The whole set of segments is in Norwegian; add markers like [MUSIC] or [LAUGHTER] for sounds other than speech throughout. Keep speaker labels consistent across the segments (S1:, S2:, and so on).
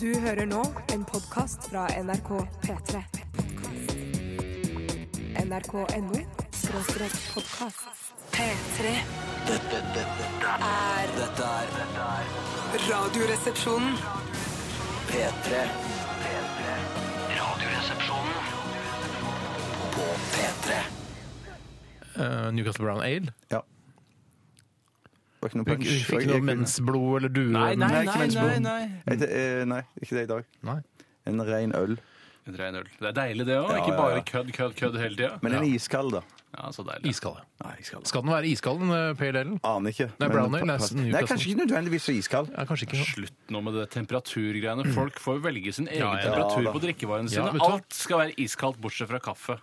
S1: Du hører nå en podkast fra NRK P3. NRK.no skråstrek podkast. P3
S2: Dette, dette, dette,
S1: er
S2: dette er dette er
S1: Radioresepsjonen.
S2: P3. P3. Radioresepsjonen på P3.
S3: Eh, Newcastle Brown Ale.
S4: Ja. Det var ikke noe
S3: Du
S4: punch.
S3: fikk ikke noe mensblod eller due?
S4: Nei, ikke
S5: nei,
S4: mensblod.
S5: nei.
S4: Jeg te- eh, nei, ikke det i dag.
S3: Nei.
S4: En ren øl.
S5: En ren øl. Det er deilig, det òg.
S4: Ja,
S5: Ikke
S4: ja, ja.
S5: bare kødd, kødd, kødd hele tida.
S4: Men en iskald, da.
S5: Ja, så deilig.
S3: Iskald. ja.
S4: Nei, iskald.
S3: Skal den være iskald, den eh, pale ale-en?
S4: Aner ikke.
S3: Nei,
S4: men-
S3: brown ale er nesten
S4: Nei, kanskje ikke nødvendigvis så iskald.
S3: Ja, kanskje ikke.
S5: Slutt nå med det temperaturgreiene. Folk får jo velge sin egen
S3: Ja, ja.
S5: temperatur
S4: Ja, da.
S5: på drikkevarene
S3: Ja,
S5: sine.
S3: vet du hva?
S5: Alt skal være iskaldt, bortsett fra kaffe.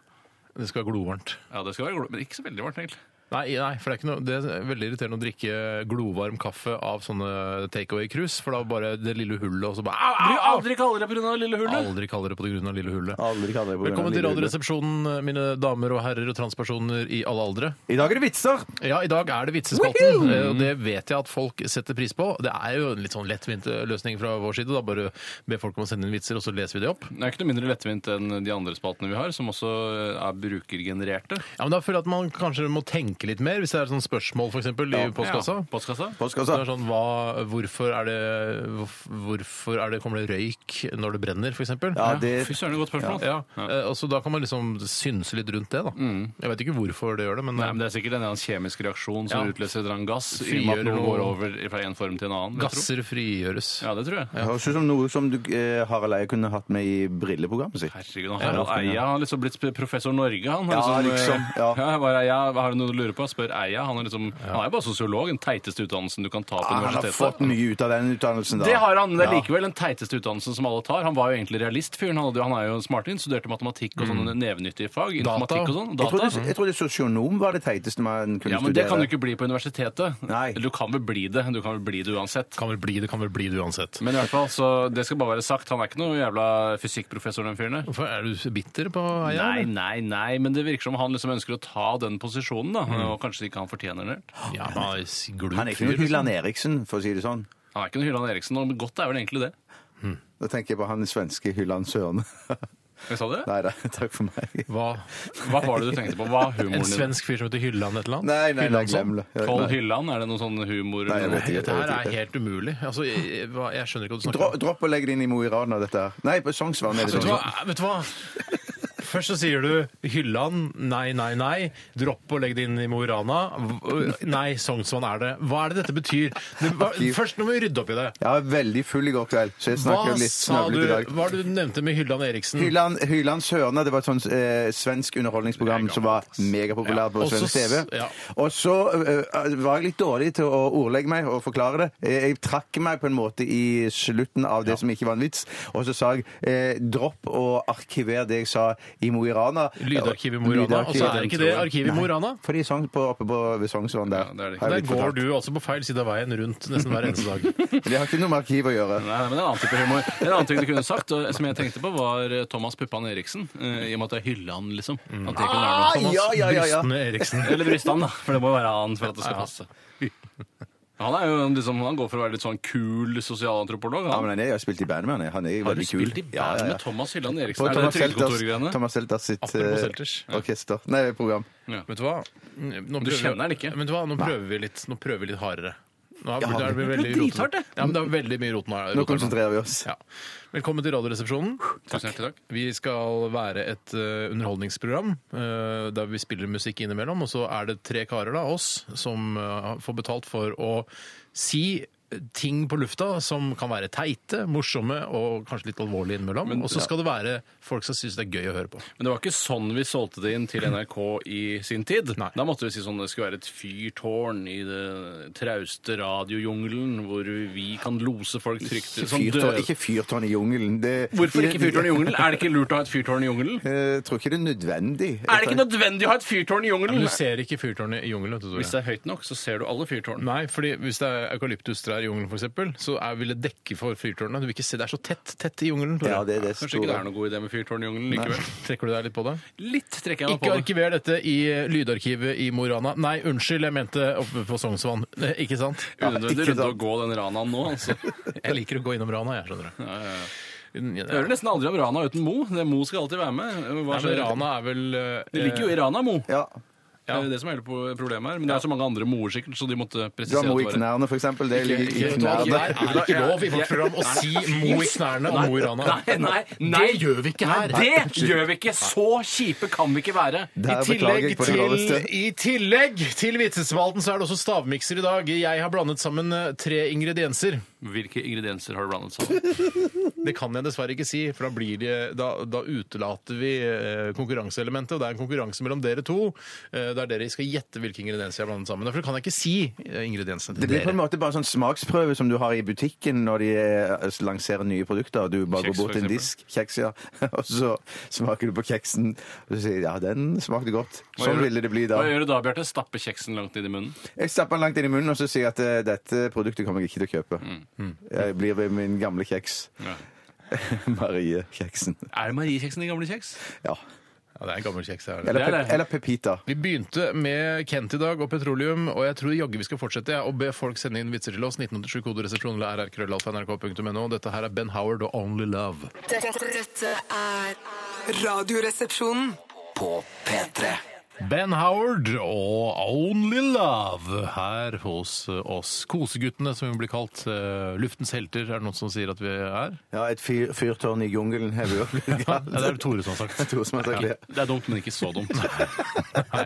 S3: Det skal være glovarmt.
S5: Ja, det skal være glo- Men ikke så veldig varmt, egentlig.
S3: Nei, nei, for det er, ikke noe, det er veldig irriterende å drikke glovarm kaffe av sånne takeaway-krus, for da bare det lille hullet, og så bare
S5: Det
S3: au, au,
S5: blir
S3: au!
S5: aldri kaldere pga. det lille hullet.
S3: Aldri kaller det på grunn av lille hullet.
S4: Aldri kaller det på grunn av
S3: Velkommen til
S4: lille hullet.
S3: Radioresepsjonen, mine damer og herrer og transpersoner i alle aldre.
S4: I dag er det vitser!
S3: Ja, i dag er det vitsespalten, eh, og det vet jeg at folk setter pris på. Det er jo en litt sånn lettvint eh, løsning fra vår side. Da bare be folk om å sende inn vitser, og så leser vi det opp.
S5: Det er ikke noe mindre lettvint enn de andre spaltene vi har, som også eh, er brukergenererte.
S3: Ja, men da føler jeg at man kanskje må tenke litt mer, hvis det er sånn spørsmål f.eks. i postkassa.
S5: Ja, postkassa.
S3: Det er
S4: Postkassa.
S3: sånn, hva, hvorfor er det, hvorf- hvorfor er det, kommer det røyk når det brenner, for eksempel?
S4: Ja, det
S5: Fy søren, det er et godt spørsmål.
S3: Ja, eh, og så Da kan man liksom synse litt rundt det. da. Jeg vet ikke hvorfor det gjør det, men,
S5: Mm.
S3: eh,
S5: Nei, men Det er sikkert en eller annen kjemisk reaksjon som
S3: Ja.
S5: utløser en eller annen gass. I og med at
S3: Frigjør
S5: noe
S3: noe-
S5: går over fra en form til en annen. vil jeg tro.
S3: gasser frigjøres.
S5: Ja, det tror jeg.
S4: Det høres ut som noe som du, eh, Harald Eie kunne hatt med i brilleprogrammet sitt.
S5: Herregud, han Harald Eia han har liksom blitt professor Norge, han.
S4: Ja,
S5: Han er
S4: liksom,
S5: eh,
S4: ja.
S5: ja, bare, Eia, har du noe du lurer på? Spør Eia. Han er, liksom, han er jo bare sosiolog, den teiteste utdannelsen du kan ta på
S4: Ah, han har
S5: universitetet.
S4: fått mye ut av den utdannelsen, da.
S5: det har han, men det er
S4: Ja.
S5: likevel den teiteste utdannelsen som alle tar. Han var jo egentlig realist, fyren. Han, hadde jo- han er jo en smarting, studerte matematikk og sånne nevenyttige fag.
S3: Data.
S5: Informatikk og sånn.
S4: Mm. Jeg
S5: Data.
S4: trodde, jeg trodde sosionom var det teiteste man kunne
S5: Ja,
S4: studere.
S5: men det kan du ikke bli på universitetet.
S4: Nei.
S5: Eller Du kan vel bli det. Du kan vel bli det uansett.
S3: Kan vel bli det, kan vel bli det uansett.
S5: Men i hvert fall, så det skal bare være sagt. Han er ikke noe jævla fysikkprofessor, den fyren der.
S3: Hvorfor Er du bitter på Eia?
S5: Nei,
S3: eller?
S5: nei, nei, men det virker som han liksom ønsker å ta den posisjonen, da.
S4: Mm.
S5: Og kanskje ikke han fortjener det.
S3: Ja, han er glup
S4: Han er ikke noe
S3: fyr, liksom.
S4: Hylland Eriksen, for å si det sånn.
S5: Han er ikke noe Hylland Eriksen, og godt er vel egentlig det.
S4: Da tenker jeg på han svenske Hylland Søren. [LAUGHS]
S5: Jeg sa det?
S4: Nei da, takk for meg.
S3: Hva?
S5: Hva var det du tenkte på? Hva er
S3: En
S5: humoren din?
S3: svensk fyr som heter Hylland et eller annet?
S4: Nei, nei, nei,
S3: Hyllandsson?
S4: glem det.
S5: Koll
S4: Nei.
S5: Hylland, er det noe sånn humor?
S4: Nei, jeg vet ikke.
S3: Dette her er helt umulig. Altså, jeg, jeg, hva- jeg skjønner ikke hva du snakker
S4: Dro,
S3: om.
S4: dropp å legge det inn i Mo i Rana, dette her. Nei, på Sognsvann er det
S3: Vet du, Altså,
S4: sånn.
S3: hva? Vet du hva? Først så sier du Hylland, nei, nei, nei. Dropp å legge det inn i Mo i Rana. V- Nei, Sognsvann er det. Hva er det dette betyr? Det, hva, først nå må vi rydde opp i det.
S4: Jeg var veldig full i går kveld, så jeg
S3: Hva
S4: snakker litt
S3: sa du,
S4: snøvlet i dag.
S3: hva er det du nevnte med Hylland Eriksen?
S4: Hylland, Hylland Sørna, det var et sånt eh, svensk underholdningsprogram som var megapopulært på
S3: Ja, også
S4: svensk TV.
S3: s- ja.
S4: Og så eh, var jeg litt dårlig til å ordlegge meg og forklare det. Jeg, jeg trakk meg på en måte i slutten av det som ikke var en vits, og så sa jeg eh, dropp å arkivere det jeg sa i Mo i Rana.
S3: Lydarkiv i Mo i Rana. Og så er ikke det arkivet i Mo i Rana.
S4: Fordi sånn på, oppe på, ved Sognsvann der.
S5: Ja, det er det ikke.
S4: har
S3: Der
S4: jeg blitt
S3: går
S4: fortalt.
S3: du altså på feil side av veien rundt nesten hver eneste
S4: [LAUGHS]
S3: dag.
S4: Men Det har ikke noe med arkiv å gjøre.
S5: Nei, nei, men det er En annen type humor. En annen ting du kunne sagt, og som jeg tenkte på, var eh, Thomas Puppan Eriksen. eh, I og med at det er Hylland, liksom. At det ikke er noe.
S4: Ah, ja, ja, ja, ja.
S3: Brystene Eriksen.
S4: Ah!
S5: Eller Brystan, da. For det må være han for at det skal passe. Han, er jo liksom, han går for å være litt sånn kul sosialantropolog.
S4: Ja,
S5: Han.
S4: men han er, jeg har spilt i band med han. Han er
S5: Har du
S4: veldig kul.
S5: spilt i
S4: Ja,
S5: band
S4: ja, ja.
S5: med Thomas Hylland Eriksen?
S4: På
S5: er det
S4: Thomas Selters,
S5: trygdekontorgreiene?
S4: Thomas Selters sitt
S3: Apropos
S4: eh,
S3: Selters,
S4: orkester. Nei, program.
S3: Vet du hva? Nå
S5: Du
S3: prøver-
S5: kjenner den ikke.
S3: Men vet du hva? Nå prøver vi litt, nå prøver vi litt hardere. Nå er, det, er det
S5: Det
S3: veldig
S5: ble drithardt, det.
S3: Ja, men det er veldig mye roten her.
S4: Nå konsentrerer vi oss.
S3: Ja. Velkommen til Radioresepsjonen.
S5: Tusen hjertelig takk.
S3: Vi skal være et eh, underholdningsprogram eh, der vi spiller musikk innimellom. Og så er det tre karer, da, oss, som eh, får betalt for å si ting på lufta som kan være teite, morsomme og kanskje litt alvorlige innimellom. Og så skal det være folk som syns det er gøy å høre på.
S5: Men det var ikke sånn vi solgte det inn til NRK i sin tid.
S3: Nei.
S5: Da måtte vi si sånn det skulle være et fyrtårn i det trauste radiojungelen hvor vi kan lose folk trygt som
S4: Fyrtårn,
S5: døde.
S4: ikke fyrtårn i jungelen. Det,
S5: Sånn Hvorfor ikke fyrtårn
S4: [LAUGHS]
S5: i jungelen? Er det ikke lurt å ha et fyrtårn i jungelen?
S4: Jeg tror ikke det er nødvendig.
S5: Er det ikke nødvendig å ha et fyrtårn i
S3: Men
S5: jungelen?
S3: du ser ikke fyrtårnet i jungelen. vet du, Tore.
S5: Hvis det er høyt nok, så ser du alle fyrtårn.
S3: Nei, fordi hvis det er eukalyptustre der i jungelen, f.eks., så er, vil det dekke for fyrtårnet. Du vil ikke se, Det er så tett tett i jungelen. Tore.
S4: Ja, det er det
S5: Kanskje ikke det
S4: store.
S5: er noen god idé med fyrtårnjungelen likevel.
S3: Trekker du deg litt på det?
S5: Litt trekker jeg meg
S3: Ikke
S5: på det.
S3: arkiver dette i eh, lydarkivet i Mo i Rana. Nei, unnskyld, jeg mente oppe på Sognsvann. [LAUGHS] Eh, Ikke sant?
S5: Unødvendig
S4: ikke
S5: runde å
S4: sant.
S5: gå den ranaen nå, altså.
S3: Jeg liker å gå innom Rana, jeg, skjønner du.
S5: Jeg hører nesten aldri om Rana uten Mo. Det Mo skal alltid være med. Hva
S3: Nei, men
S5: skjer?
S3: Rana er vel eh,
S5: Det ligger jo i Rana, Mo.
S4: Ja.
S5: Det er jo det som er hele po- problemet her. Men det er så mange andre moer, sikkert, så de måtte
S4: Du
S5: presisere
S4: har Mo i
S5: at det var
S4: knærne, for eksempel. Det ligger i
S3: Vet du hva,
S4: knærne.
S3: Det er ikke lov i vårt program å si Mo i knærne og Mo i Rana.
S5: Nei, nei, nei,
S3: Det gjør vi ikke her.
S5: Nei, det gjør vi ikke! Så kjipe kan vi ikke være.
S4: Det
S3: I
S4: er
S3: tillegg,
S4: beklager på det
S3: til,
S4: groveste.
S3: I tillegg til vitsespalten så er det også stavmikser i dag. Jeg har blandet sammen eh, tre ingredienser.
S5: Hvilke ingredienser har du blandet sammen?
S3: Det kan jeg dessverre ikke si, for da, blir det, da, da utelater vi eh, konkurranseelementet. Og det er en konkurranse mellom dere to, eh, der dere skal gjette hvilke ingredienser jeg har blandet sammen. Derfor kan jeg ikke si eh, ingrediensene
S4: Det
S3: til
S4: blir på en
S3: dere.
S4: måte bare sånn smaksprøve som du har i butikken når de eh, lanserer nye produkter. Du bare
S5: Kjeks,
S4: går bort til en
S5: for
S4: disk, kjeks, ja, [LAUGHS] og så smaker du på kjeksen, og så sier du ja, den smakte godt.
S5: Hva
S4: Sånn
S5: gjør du-
S4: ville det bli da.
S5: Hva gjør du da, Bjarte? Stappe kjeksen langt ned i munnen?
S4: Jeg stapper den langt inn i munnen og så sier jeg at eh, dette produktet kommer jeg ikke til å kjøpe.
S3: Mm.
S4: Jeg blir ved min gamle kjeks.
S3: [LAUGHS]
S4: Marie-kjeksen.
S5: Er det Marie-kjeksen din gamle kjeks?
S4: Ja.
S3: Ja, det er en gammel kjeks. det er det.
S4: Eller,
S5: Det er det.
S4: pep eller Pepita.
S3: Vi begynte med Kent i dag og petroleum, og jeg tror jaggu vi skal fortsette ja, og be folk sende inn vitser til oss. 1987 koderesepsjon eller rrkrøllalfa.nrk.no. Dette her er Ben Howard og Only Love.
S1: Dette, dette er Radioresepsjonen.
S2: På P3.
S3: Ben Howard og Only Love her hos oss. Koseguttene, som vi blir kalt. eh, Luftens helter, er det noen som sier at vi er?
S4: Ja, et fyr, fyrtårn i jungelen har vi også blitt
S3: [LAUGHS] Ja, det
S4: kalt.
S3: er Tore som har sagt.
S4: [LAUGHS] To som har sagt det.
S5: Det er dumt, men ikke så dumt.
S3: Nei,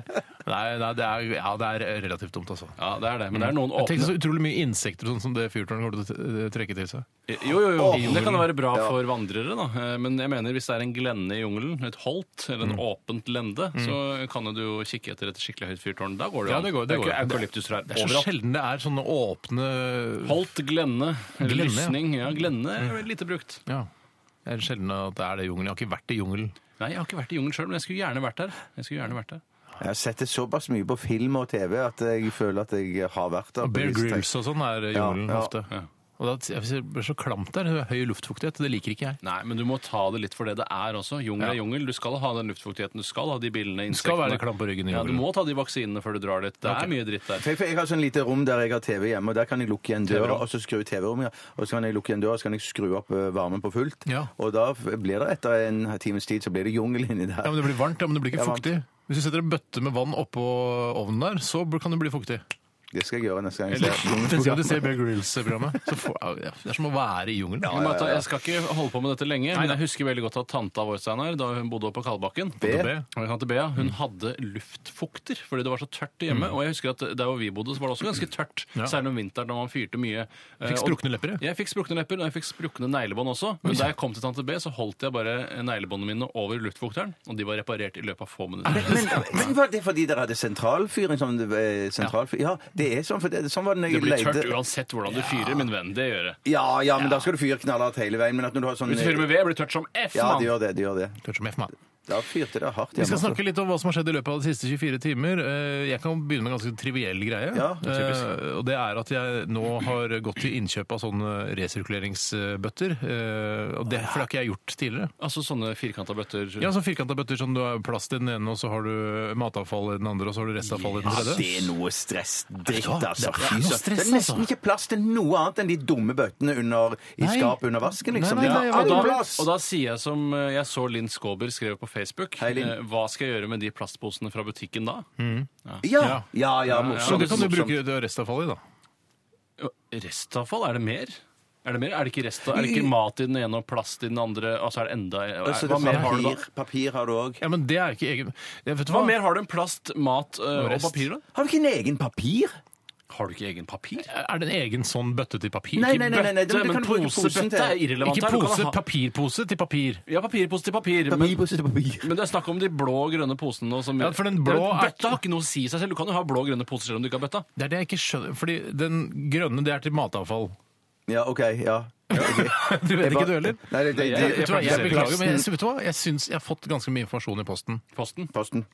S3: nei det, er, ja, det er relativt dumt, altså.
S5: Ja, det er det. Men det er noen
S3: Jeg tenker
S5: åpne
S3: så utrolig mye insekter og sånn som det fyrtårnet kommer til å eh, trekke til seg.
S5: Jo, jo, jo. Det kan jo være bra for vandrere, da. Eh, Men jeg mener hvis det er en glenne i jungelen, et holt eller en åpent lende, så kan jo du jo kikke etter et skikkelig høyt fyrtårn. Da går Mm. det jo.
S3: Ja, det går- det
S5: er
S3: går.
S5: ikke eukalyptustrær
S3: Det er så
S5: overalt.
S3: sjelden det er sånne åpne
S5: Holt, glenne, eller
S3: Glenne, ja.
S5: lysning. Ja, Mm. glenne er lite brukt.
S3: Ja. Det er sjelden at det er det i jungelen. Jeg har ikke vært i jungelen.
S5: Nei, jeg har ikke vært i jungelen sjøl, men jeg skulle gjerne vært der. Jeg skulle gjerne vært der.
S4: Jeg har sett det såpass mye på film og TV at jeg føler at jeg har vært der. på
S3: Bear
S4: visse ting.
S3: Grylls og sånn er i jungelen
S4: Ja, ja,
S3: ofte. Og da, jeg synes det blir så klamt der. Det er Høy luftfuktighet. Det liker ikke jeg.
S5: Nei, men du må ta det litt for det det er også. Jungel er
S3: Ja.
S5: jungel. Du skal ha den luftfuktigheten, du skal ha de billene, insektene.
S3: skal være litt klam på ryggen i
S5: Ja, du
S3: jungelen.
S5: må ta de vaksinene før du drar dit. Det er mye dritt der.
S4: For jeg, for jeg har sånn lite rom der jeg har TV hjemme, og der kan jeg lukke igjen døra, og så skru TV-rommet, ja. og så kan jeg lukke igjen døra, og så kan jeg skru opp eh, varmen på fullt,
S3: Ja.
S4: og da f- blir det etter en times tid, så blir det jungel inni der.
S3: Ja, men Det blir varmt, ja, men det blir ikke
S4: Det er varmt.
S3: fuktig. Hvis du setter en bøtte med vann oppå ovnen der, så kan det bli fuktig.
S4: Det skal jeg gjøre neste gang. jeg
S5: Eller-
S4: ser jungel.
S3: Neste gang du ser Bear Grylls-programmet, så får ja, Det er som å være i jungelen.
S5: Jeg, må ta, jeg skal ikke holde på med dette lenge, men jeg husker veldig godt at tanta vår, Steinar, da hun bodde oppe på Kalbakken
S4: B.
S5: På B. Og jeg kan til Bea,
S3: Mm.
S5: Hun hadde luftfukter fordi det var så tørt hjemme. Og jeg husker at der hvor vi bodde, så var det også ganske tørt.
S3: Ja.
S5: Særlig om vinteren når man fyrte mye. Eh,
S3: Fikk
S5: og-
S3: sprukne lepper, ja.
S5: Jeg fikk sprukne lepper, og jeg fikk sprukne neglebånd også. Men da jeg kom til tante B, så holdt jeg bare neglebåndene mine over luftfukteren, og de var reparert i løpet av få minutter.
S4: Men, men var det fordi dere hadde sentralfyring? Sånn, eh, sentralfyring? Ja, det er sånn, for det, sånn var det når
S5: Det
S4: jeg
S5: blir
S4: leide.
S5: tørt uansett hvordan du fyrer, min venn. Det gjør det.
S4: Ja, ja, men da skal du fyre knallhardt hele veien, men at når du har sånn...
S5: Hvis du fyrer med ved, blir det tørt som F,
S4: Ja, det
S5: mann!
S4: gjør det, det gjør det.
S3: Tørt som F, mann.
S4: Da fyrte det hardt
S3: Vi skal
S4: hjemme, altså.
S3: snakke litt om hva som har skjedd i løpet av de siste 24 timer. Eh, Jeg kan begynne med en ganske triviell greie.
S4: Ja,
S3: Eh, og det er at jeg nå har gått til innkjøp av sånne resirkuleringsbøtter. eh, Og det, for det har ikke jeg gjort tidligere.
S5: Altså sånne firkanta bøtter.
S3: Ja, sånn firkanta bøtter som du har plast i den ene, og så har du matavfall i den andre, og så har du restavfall i den
S4: Ja,
S3: tredje.
S4: altså. det er noe stressdritt,
S3: Ja, det er
S4: altså.
S3: ikke
S4: Fy
S3: noe
S4: søren.
S3: stress,
S4: det er nesten
S3: altså.
S4: ikke plass til noe annet enn de dumme bøttene under, i
S3: Nei.
S4: skapet under vasken, liksom.
S3: Nei, nei, nei,
S4: det er
S5: og,
S4: all
S5: da,
S4: plass.
S5: og da sier jeg som eh, jeg så Linn Skåber skrev på Facebook.
S4: Hei, Linn. Mm.
S5: eh, Hva skal jeg gjøre med de plastposene fra butikken da?
S4: ja, ja, ja, morsomt.
S3: Så det kan du
S4: morsomt.
S3: bruke det restavfallet i, da.
S5: Jo, Restavfall? Er det mer? Er det mer? Er det ikke rest, er det ikke mat i den ene og plast i den andre? Altså er det enda er,
S4: Altså,
S5: Hva mer har du da?
S4: papir, papir har du òg.
S3: Ja, men det er ikke egen... Jeg vet du
S5: Hva
S3: hva?
S5: mer har du enn plast, mat eh, og,
S3: rest.
S5: papir? da?
S4: Har du ikke en egen papir?
S5: Har du ikke egen papir?
S3: Er det en egen sånn bøtte til papir?
S4: Nei, nei, nei, nei, nei,
S5: Bøtte,
S4: du- du
S5: men
S4: kan bruke
S5: pose,
S4: posen
S5: bøtte
S4: til-
S5: er irrelevant.
S3: Ikke
S5: her. Du kan
S3: pose,
S5: ha-
S3: papirpose til papir.
S5: Ja, papirpose til papir. Men,
S4: Papir på sitt papir.
S5: men det er snakk om de blå og grønne posene. nå Som,
S3: Ja, for den blå
S5: Det-
S3: er-
S5: Bøtta har ikke noe å si i seg selv. Du kan jo ha blå og grønne poser selv om du ikke har bøtta.
S3: Det er det jeg ikke skjønner, fordi den grønne, det er til matavfall. [LAUGHS]
S4: Ja, OK. Ja.
S3: Du vet ikke du heller?
S4: Nei, det, det,
S5: Jeg-
S4: det,
S3: Jeg, vet du hva, jeg
S5: praktiserer
S3: beklager, men jeg, vet du hva? jeg syns jeg har fått ganske mye informasjon i posten.
S5: Posten.
S4: Posten.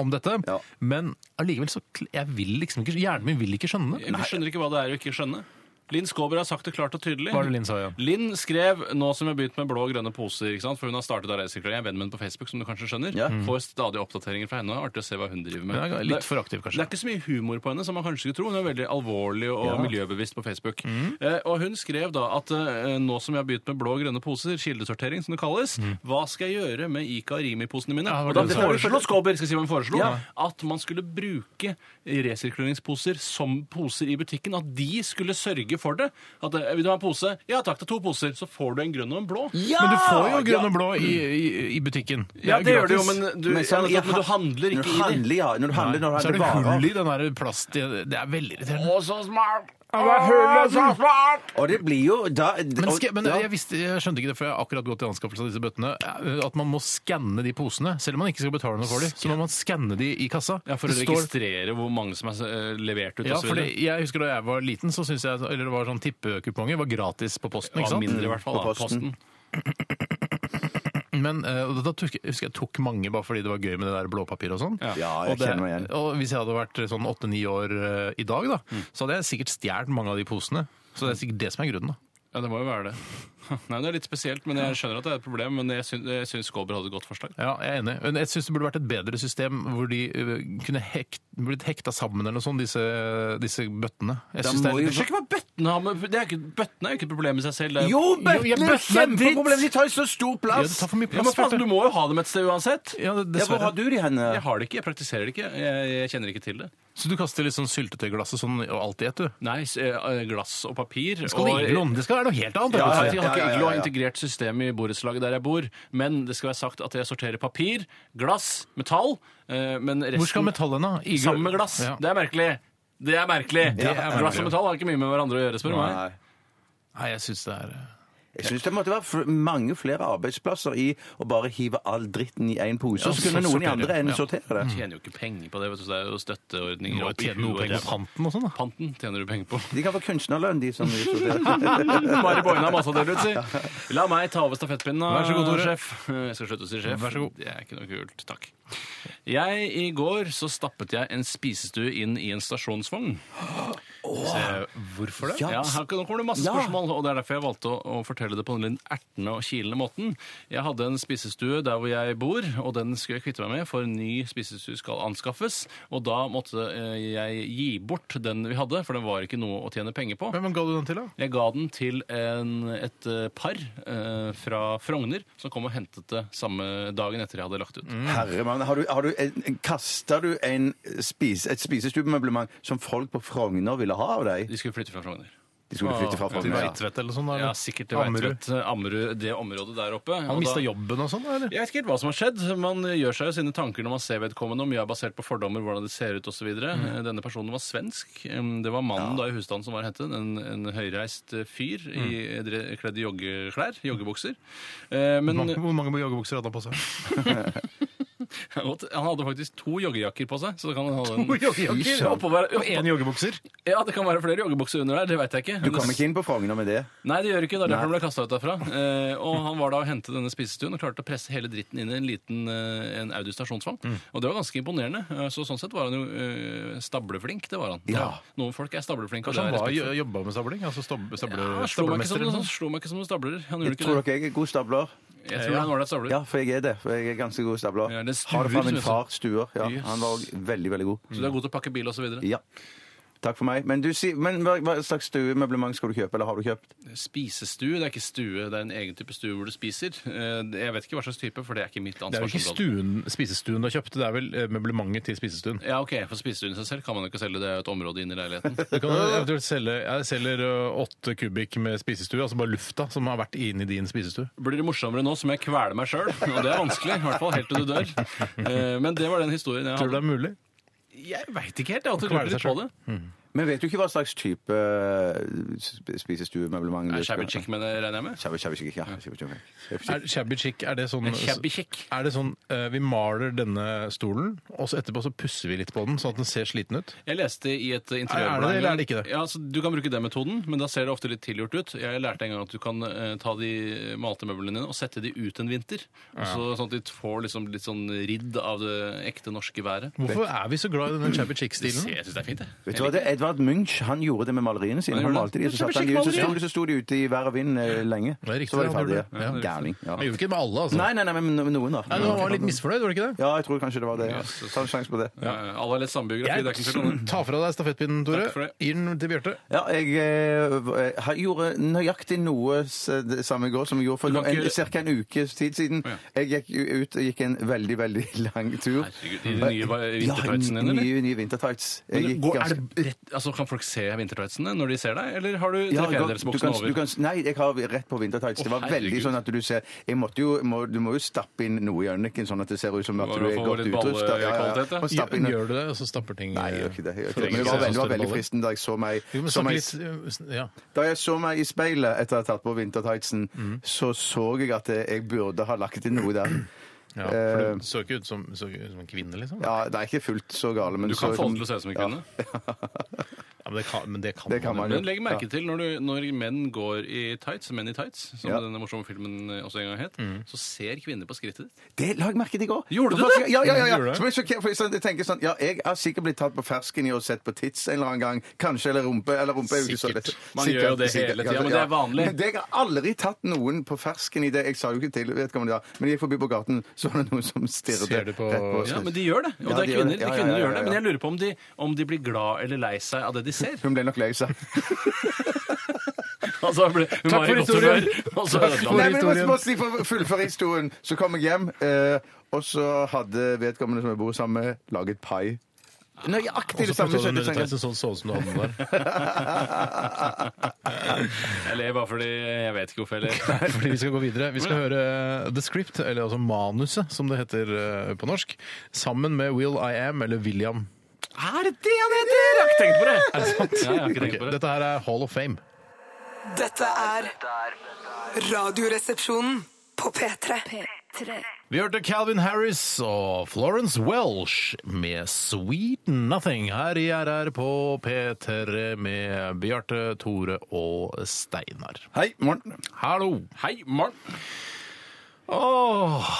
S3: om dette,
S4: Ja.
S3: men allikevel så kl- jeg vil liksom ikke, Hjernen min vil ikke skjønne det.
S5: Vi skjønner ikke hva det er å ikke skjønne. Linn Skåber har sagt det klart og tydelig.
S3: Hva er det Linn sa igjen?
S5: Linn skrev nå som jeg har begynt med blå og grønne poser, ikke sant? for hun har startet Areiseklæring. Jeg er venn med henne på Facebook, som du kanskje skjønner.
S4: Ja.
S5: Får stadig oppdateringer fra henne. Artig å se hva hun driver med.
S3: Hun er litt for aktiv, kanskje.
S5: Det er ikke så mye humor på henne som man kanskje skulle tro. Hun er veldig alvorlig og miljøbevisst på Facebook.
S3: Mm.
S5: Eh, og hun skrev da at eh, nå som jeg har begynt med blå og grønne poser, kildesortering som det kalles, hva skal jeg gjøre med Ika og Rimi-posene mine?
S3: Mm. Ja, det var
S5: og da
S3: det hun
S5: foreslo Skåber skal jeg si hva hun foreslo, at man skulle bruke resirkuleringsposer som poser i butikken. At de skulle sørge for det. At eh, vil du ha en pose? Ja takk, det er to poser. Så får du en grønn og en blå.
S3: Men du får jo grønn og blå i, i, i butikken.
S5: Ja,
S3: er
S5: det gjør du jo,
S3: gratis.
S5: men du,
S4: Men sånn,
S5: ja, men
S4: jeg-
S5: du handler
S4: Når du
S5: ikke i det.
S4: handler, ja. Når du handler, når du
S3: Så er
S4: handler
S3: det hull
S4: varer.
S3: i den der plast... Det er veldig irriterende.
S5: Å, så smart!
S4: Og det blir jo da
S3: Men,
S4: og-
S3: sk- men
S4: ja.
S3: jeg, visste, jeg skjønte ikke det før jeg akkurat gått til anskaffelse av disse bøttene. eh, At man må skanne de posene. Selv om man ikke skal betale noe for dem, så må man skanne de i kassa.
S5: Ja, For å
S3: Det står-
S5: registrere hvor mange som er eh, levert ut.
S3: Ja,
S5: og så
S3: fordi
S5: videre.
S3: jeg husker da jeg var liten, så syntes jeg Eller det var sånn tippekuponger var gratis på posten, ikke
S5: Ja,
S3: sant?
S5: mindre i hvert fall.
S4: På
S5: Da.
S4: posten.
S5: Posten.
S3: Men eh, og da tok, jeg husker jeg tok mange bare fordi det var gøy med det der blåpapiret og sånn.
S5: Ja.
S4: Ja, jeg
S3: Og, det,
S4: kjenner meg igjen.
S3: og hvis jeg hadde vært sånn åtte-ni år eh, i dag, da,
S5: Mm.
S3: så hadde jeg sikkert stjålet mange av de posene. Så det er sikkert det som er grunnen. da.
S5: Ja, det må jo være det. Nei, Det [LAUGHS] er litt spesielt, men jeg skjønner at det er et problem. Men jeg syns, jeg syns Skåber hadde et godt forslag.
S3: Ja, jeg er enig. Men jeg syns det burde vært et bedre system hvor de eh, kunne hekt, blitt hekta sammen eller noe sånt, disse, disse bøttene. Jeg
S4: Da
S3: synes det
S4: må
S3: er
S4: jo-
S5: Sjekk hva bøttene har med det er ikke, Bøttene er jo ikke et problem i seg selv. det er-
S3: Jo,
S4: Jo,
S3: ja,
S4: bøttene
S3: bøttene
S4: er
S3: er
S4: kjempeproblem!
S3: dritt.
S4: De tar jo så stor
S3: ja, det
S4: plass!
S3: tar for mye
S5: ja, men
S3: plass. Bjarte.
S5: faen, Du må jo ha dem et sted uansett.
S3: Ja, det-
S4: Ja, hvor har
S3: dessverre.
S4: du de hen?
S5: Jeg har det ikke, jeg praktiserer det ikke. Jeg, jeg kjenner ikke til det.
S3: Så du kaster litt sånn syltetøyglasset sånn og alt i ett, du?
S5: Nei, s- eh, glass og papir
S3: Skal det, iglo om? det skal være noe helt annet.
S5: Ja,
S3: altså.
S4: ja,
S5: jeg har
S4: ja,
S5: ikke
S4: ja,
S5: iglo og
S4: ja.
S5: integrert system i borettslaget der jeg bor, men det skal være sagt at jeg sorterer papir, glass, metall, eh, men resten
S3: Hvor skal metallet hen, da? Iglo-
S5: Sammen med glass.
S3: Ja.
S5: Det er merkelig. Det er merkelig.
S3: er merkelig.
S5: Glass og metall har ikke mye med hverandre å gjøre, spør du meg.
S4: Nei.
S3: Nei, jeg syns det er øh,
S4: Jeg syns det måtte være fl- mange flere arbeidsplasser i å bare hive all dritten i én pose,
S3: Ja,
S4: så kunne
S3: så
S4: noen i
S3: sortere.
S4: andre enden
S3: Ja.
S4: sortere det.
S5: Du tjener jo ikke penger på det, vet du, så det er jo
S3: Du
S5: støtteordninger
S3: må jo
S5: opp i
S3: tjene noe
S5: huet og
S3: penger på
S5: ræva.
S3: panten og sånn, da.
S5: Panten tjener du penger på.
S4: De kan få
S3: [LAUGHS]
S4: kunstnerlønn, de som sorterer.
S5: Mari Boine har masse å dele ut, si. [LAUGHS] La meg ta over stafettpinnen, da,
S3: Vær så god, Tore.
S5: sjef. Jeg skal slutte å si sjef.
S3: Vær så god.
S5: Det er ikke noe kult. Takk. Jeg, I går så stappet jeg en spisestue inn i en stasjonsvogn.
S3: Hvorfor
S4: Ja.
S5: Ja, her, nå kommer det masse spørsmål, og det er derfor jeg valgte å, å fortelle det på den litt ertende og kilende måten. Jeg hadde en spisestue der hvor jeg bor, og den skulle jeg kvitte meg med, for en ny spisestue skal anskaffes. Og da måtte eh, jeg gi bort den vi hadde, for den var ikke noe å tjene penger på.
S3: Hvem ga du den til, da?
S5: Jeg ga den til en, et eh, par eh, fra Frogner som kom og hentet det samme dagen etter jeg hadde lagt ut.
S3: Mm.
S4: Herre mann, har du, har du en, en, kaster du en spis, et spisestuemøblement som folk på Frogner ville ha av deg?
S5: De skulle flytte fra Frogner.
S4: De skulle flytte fra
S3: Til
S4: Frogner. ja.
S3: Veitvet eller sånn? da, eller?
S5: Ja, sikkert til
S3: Ammerud.
S5: Veitvet. eh, Ammerud, det området der oppe.
S3: Han
S5: Og da-
S3: mista jobben og sånn, da, eller?
S5: Jeg vet ikke helt hva som har skjedd. Man gjør seg jo sine tanker når man ser vedkommende. Om jeg er basert på fordommer, hvordan de ser ut osv. videre
S3: Mm.
S5: Eh, Denne personen var svensk. Em, Det var mannen da i husstanden som var hentet. En, en høyreist eh, fyr i,
S3: Mm.
S5: dre- kledd i joggeklær. Joggebukser. Eh, Men
S3: Mange- Hvor mange joggebukser hadde han på seg? [LAUGHS]
S5: godt, [LAUGHS] han hadde faktisk to joggejakker på seg. Så det kan han ha den. [LAUGHS]
S3: joggejakker?
S5: Oppå hver-
S3: Og én joggebukser?
S5: Ja, det kan være flere joggebukser under der. Det veit jeg ikke.
S4: Du kommer ikke inn på Frogner med det.
S5: Nei, det gjør ikke. Det er derfor han ble kasta ut derfra. Eh, og han var da og hentet denne spisestuen og klarte å presse hele dritten inn i en liten eh, en Audi stasjonsvogn.
S3: Mm.
S5: Og det var ganske imponerende. Eh, Så sånn sett var han jo eh, stableflink. Det var han.
S4: Ja.
S5: Noen folk er stableflinke. og
S3: Kanskje han
S5: det er
S3: var,
S5: respekt for.
S3: jobba med stabling? Altså stable, stable,
S5: Ja, han slo meg ikke
S3: stablemester
S5: som
S3: eller
S5: noen-
S3: noe
S5: han
S3: sånn?
S5: slo meg ikke som en stabler. Han gjorde
S4: Jeg
S5: ikke
S4: tror
S5: det.
S4: dere jeg er god stabler?
S5: Jeg tror han var en stabler.
S4: Ja, for jeg er det. For jeg er ganske god stabler.
S5: Ja, det er
S4: Har det fra min
S5: stuer, synes jeg.
S4: far, Stuer. Ja,
S5: Yes. Mm.
S4: han var også veldig, veldig god.
S5: Så du er god til å pakke bil og så videre.
S4: Ja. Takk for meg. Men, du, si- men hva, hva slags stuemøblement skal du kjøpe, eller har du kjøpt?
S5: Spisestue, det er ikke stue. Det er en egen type stue hvor du spiser. Eh, Jeg vet ikke hva slags type, for det er ikke mitt
S3: Det er jo ikke
S5: ansvarsområde.
S3: stuen, spisestuen du har kjøpt, det er vel eh, møblementet til spisestuen.
S5: Ja, ok, For spisestuen i seg selv kan man jo ikke selge. Det er jo et område inne i leiligheten. [LAUGHS]
S3: Du kan eventuelt selge Jeg selger ø, åtte kubikk med spisestue, altså bare lufta som har vært inni din spisestue.
S5: blir det morsommere nå som jeg kveler meg sjøl. Og det er vanskelig, i hvert fall helt til du dør. Eh, Men det var den historien jeg
S3: Tror du det
S5: hadde.
S3: er mulig?
S5: Jeg veit ikke helt. Jeg har alltid
S3: Å kvele
S5: lurt litt
S3: seg
S5: på det.
S4: Men vet du ikke hva slags type eh, sp- spisestuemøblement
S5: Er shabby chic, men det regner jeg med?
S4: Shabby shabby chic, ja. Shabby chic.
S3: Er shabby chic, er det sånn
S5: Shabby chic.
S3: Er det sånn eh, vi maler denne stolen, og så etterpå så pusser vi litt på den, sånn at den ser sliten ut?
S5: Jeg leste i et interiørblad
S3: Er det det, eller
S5: en gang-
S3: er det ikke det?
S5: Ja, altså, du kan bruke den metoden, men da ser det ofte litt tilgjort ut. Jeg lærte en gang at du kan eh, ta de malte møblene dine og sette de ut en vinter. Og så, sånn at de får liksom litt sånn ridd av det ekte norske været.
S3: Hvorfor er vi så glad i denne shabby
S5: Det ser-
S3: chic-stilen?
S5: Jeg syns det er fint, jeg.
S4: Vet du hva, det, Edvard Munch han gjorde det med maleriene sine.
S5: Han
S4: Han
S5: gjorde
S4: malte
S5: det.
S4: de, så
S5: Det er
S4: satte han de ut, så
S5: skikkelig
S4: sto de, så sto de ute i vær og vind eh, lenge.
S3: Det er riktig,
S4: så var de
S3: han
S4: ferdige.
S3: gjorde det. Ja, det er
S4: Gærning. Ja.
S3: Jeg gjorde ikke det med alle, altså.
S4: Nei, nei, nei, men no- noen, da.
S3: Nei, du var litt misfornøyd, var du ikke det?
S4: Ja, jeg tror kanskje det var det. Ja. Ta en sjanse på det.
S5: Ja. ja. Alle har lest samme biografi. Det er ikke noe sånn.
S3: Ta fra deg stafettpinnen, Tore.
S5: Takk for det.
S3: Gi den til Bjarte.
S4: Ja, jeg eh, har- gjorde nøyaktig noe s- det samme i går som jeg gjorde for
S5: Du kan ikke
S4: en,
S5: gjøre-
S4: cirka en ukes tid siden.
S5: Å,
S4: Jeg gikk jo ut og gikk en veldig, veldig lang tur. Eh,
S5: Herregud,
S4: Ja,
S5: i de nye vintertightsene dine, eller?
S4: nye, nye vintertights. Jeg
S5: Men
S4: gikk
S5: går,
S4: ganske-
S5: er det rett, altså, kan folk se vintertightsene når de ser deg, eller har du
S4: Ja,
S5: tre
S4: jeg kan- du
S5: fjerdedelsboksen
S4: kan,
S5: over?
S4: du kan, nei, jeg har rett på vintertights. Det var
S5: Å,
S4: veldig
S5: herregud.
S4: sånn at du ser jeg måtte jo, må, Du må jo stappe inn noe i øynene, sånn at det ser ut som at
S5: Bare
S4: du er
S5: få
S4: godt
S5: litt
S4: utrusta.
S5: ballekvalitet, da.
S4: Og stappe inn-
S3: Gjør du det, og så stapper ting eh,
S4: Nei, jeg gjør ikke det. Jeg gjør ikke det.
S5: Trenger
S4: Men det
S5: ikke
S4: var
S5: se
S4: veldig, det var
S3: så
S4: veldig
S3: store
S4: fristende da jeg så meg,
S3: Jo, men
S4: så
S3: snakk
S4: meg
S3: litt eh, Ja.
S4: da jeg så meg i speilet etter å ha tatt på vintertightsen,
S3: Mhm.
S4: så så jeg at jeg burde ha lagt inn noe der. Eh,
S3: ja. For du så ikke ut som, så ikke ut som en kvinne, liksom. Ja,
S4: Ja, Det er ikke fullt så gale, men
S5: Du kan
S4: så-
S5: få det til å se ut som en
S4: Ja.
S5: kvinne.
S3: men det kan, men det kan,
S4: Det kan
S3: man jo.
S4: man
S5: Men legg merke til når, du, når menn går i tights, menn i tights, som
S4: Ja. Mm.
S5: denne morsomme filmen eh, også en gang het, så ser kvinner på skrittet ditt.
S4: Det la jeg merke til i går.
S5: Gjorde du
S4: For-
S5: det?
S4: Ja, ja, ja.
S3: Gjorde du
S4: ja.
S3: det?
S4: Så ble jeg sjokkert, for jeg sånn- jeg tenker sånn, ja, jeg har sikkert blitt tatt på fersken i og sett på tits en eller annen gang. Kanskje, eller rumpe. eller rumpe. er jo ikke så
S3: Sikkert.
S4: lett.
S5: Man gjør jo det hele tiden, men det er vanlig.
S4: Men det, jeg har aldri tatt noen på fersken i det. Jeg sa jo ikke til vedkommende da, men jeg gikk forbi på gaten, så var det noen som stirret
S3: Ser du på-
S4: rett på oss.
S5: Ja, men de gjør det. Og
S4: Ja,
S5: det
S4: de
S5: er
S4: gjør
S5: kvinner.
S4: det. Ja,
S5: de
S4: ja,
S5: kvinnene
S4: ja,
S5: gjør
S4: ja,
S5: det.
S4: ja.
S5: Men jeg lurer på om de, om de blir glad eller lei seg av det de ser.
S4: [LAUGHS]
S5: [LAUGHS]
S4: Hun ble nok lei seg.
S5: Altså, hun ble- hun
S3: Takk
S5: var
S3: for
S5: i godt
S3: historien.
S5: humør, og så ødela
S4: Nei, men jeg
S5: hun.
S4: måtte
S3: historien.
S4: bare si for å fullføre historien. Så kom jeg hjem, eh, og så hadde vedkommende som jeg bor sammen med, laget pai. Nøyaktig
S3: Og
S4: det
S3: så putta
S4: samme.
S3: du den
S4: som du
S3: under
S4: trenger.
S3: tights, sånn så ut som du hadde den
S4: [LAUGHS]
S5: [LAUGHS]
S3: der.
S5: Jeg ler bare fordi jeg vet ikke hvorfor
S4: [LAUGHS]
S5: jeg ler.
S3: Fordi vi skal gå videre. Vi skal høre The Script, eller altså manuset, som det heter eh, på norsk, sammen med Will I Am, eller William.
S5: Er det det han heter? Jeg har ikke tenkt på det. Er det sant? Ja, jeg har ikke
S3: Ok,
S5: tenkt på det.
S3: Dette her er Hall of Fame.
S1: Dette er Radioresepsjonen på P3.
S3: Vi hørte Calvin Harris og Florence Welsh med Sweet Nothing her i RR på P3 med Bjarte, Tore og Steinar.
S4: Hei, morgen.
S3: Hallo!
S5: Hei, Morn.
S3: Åh,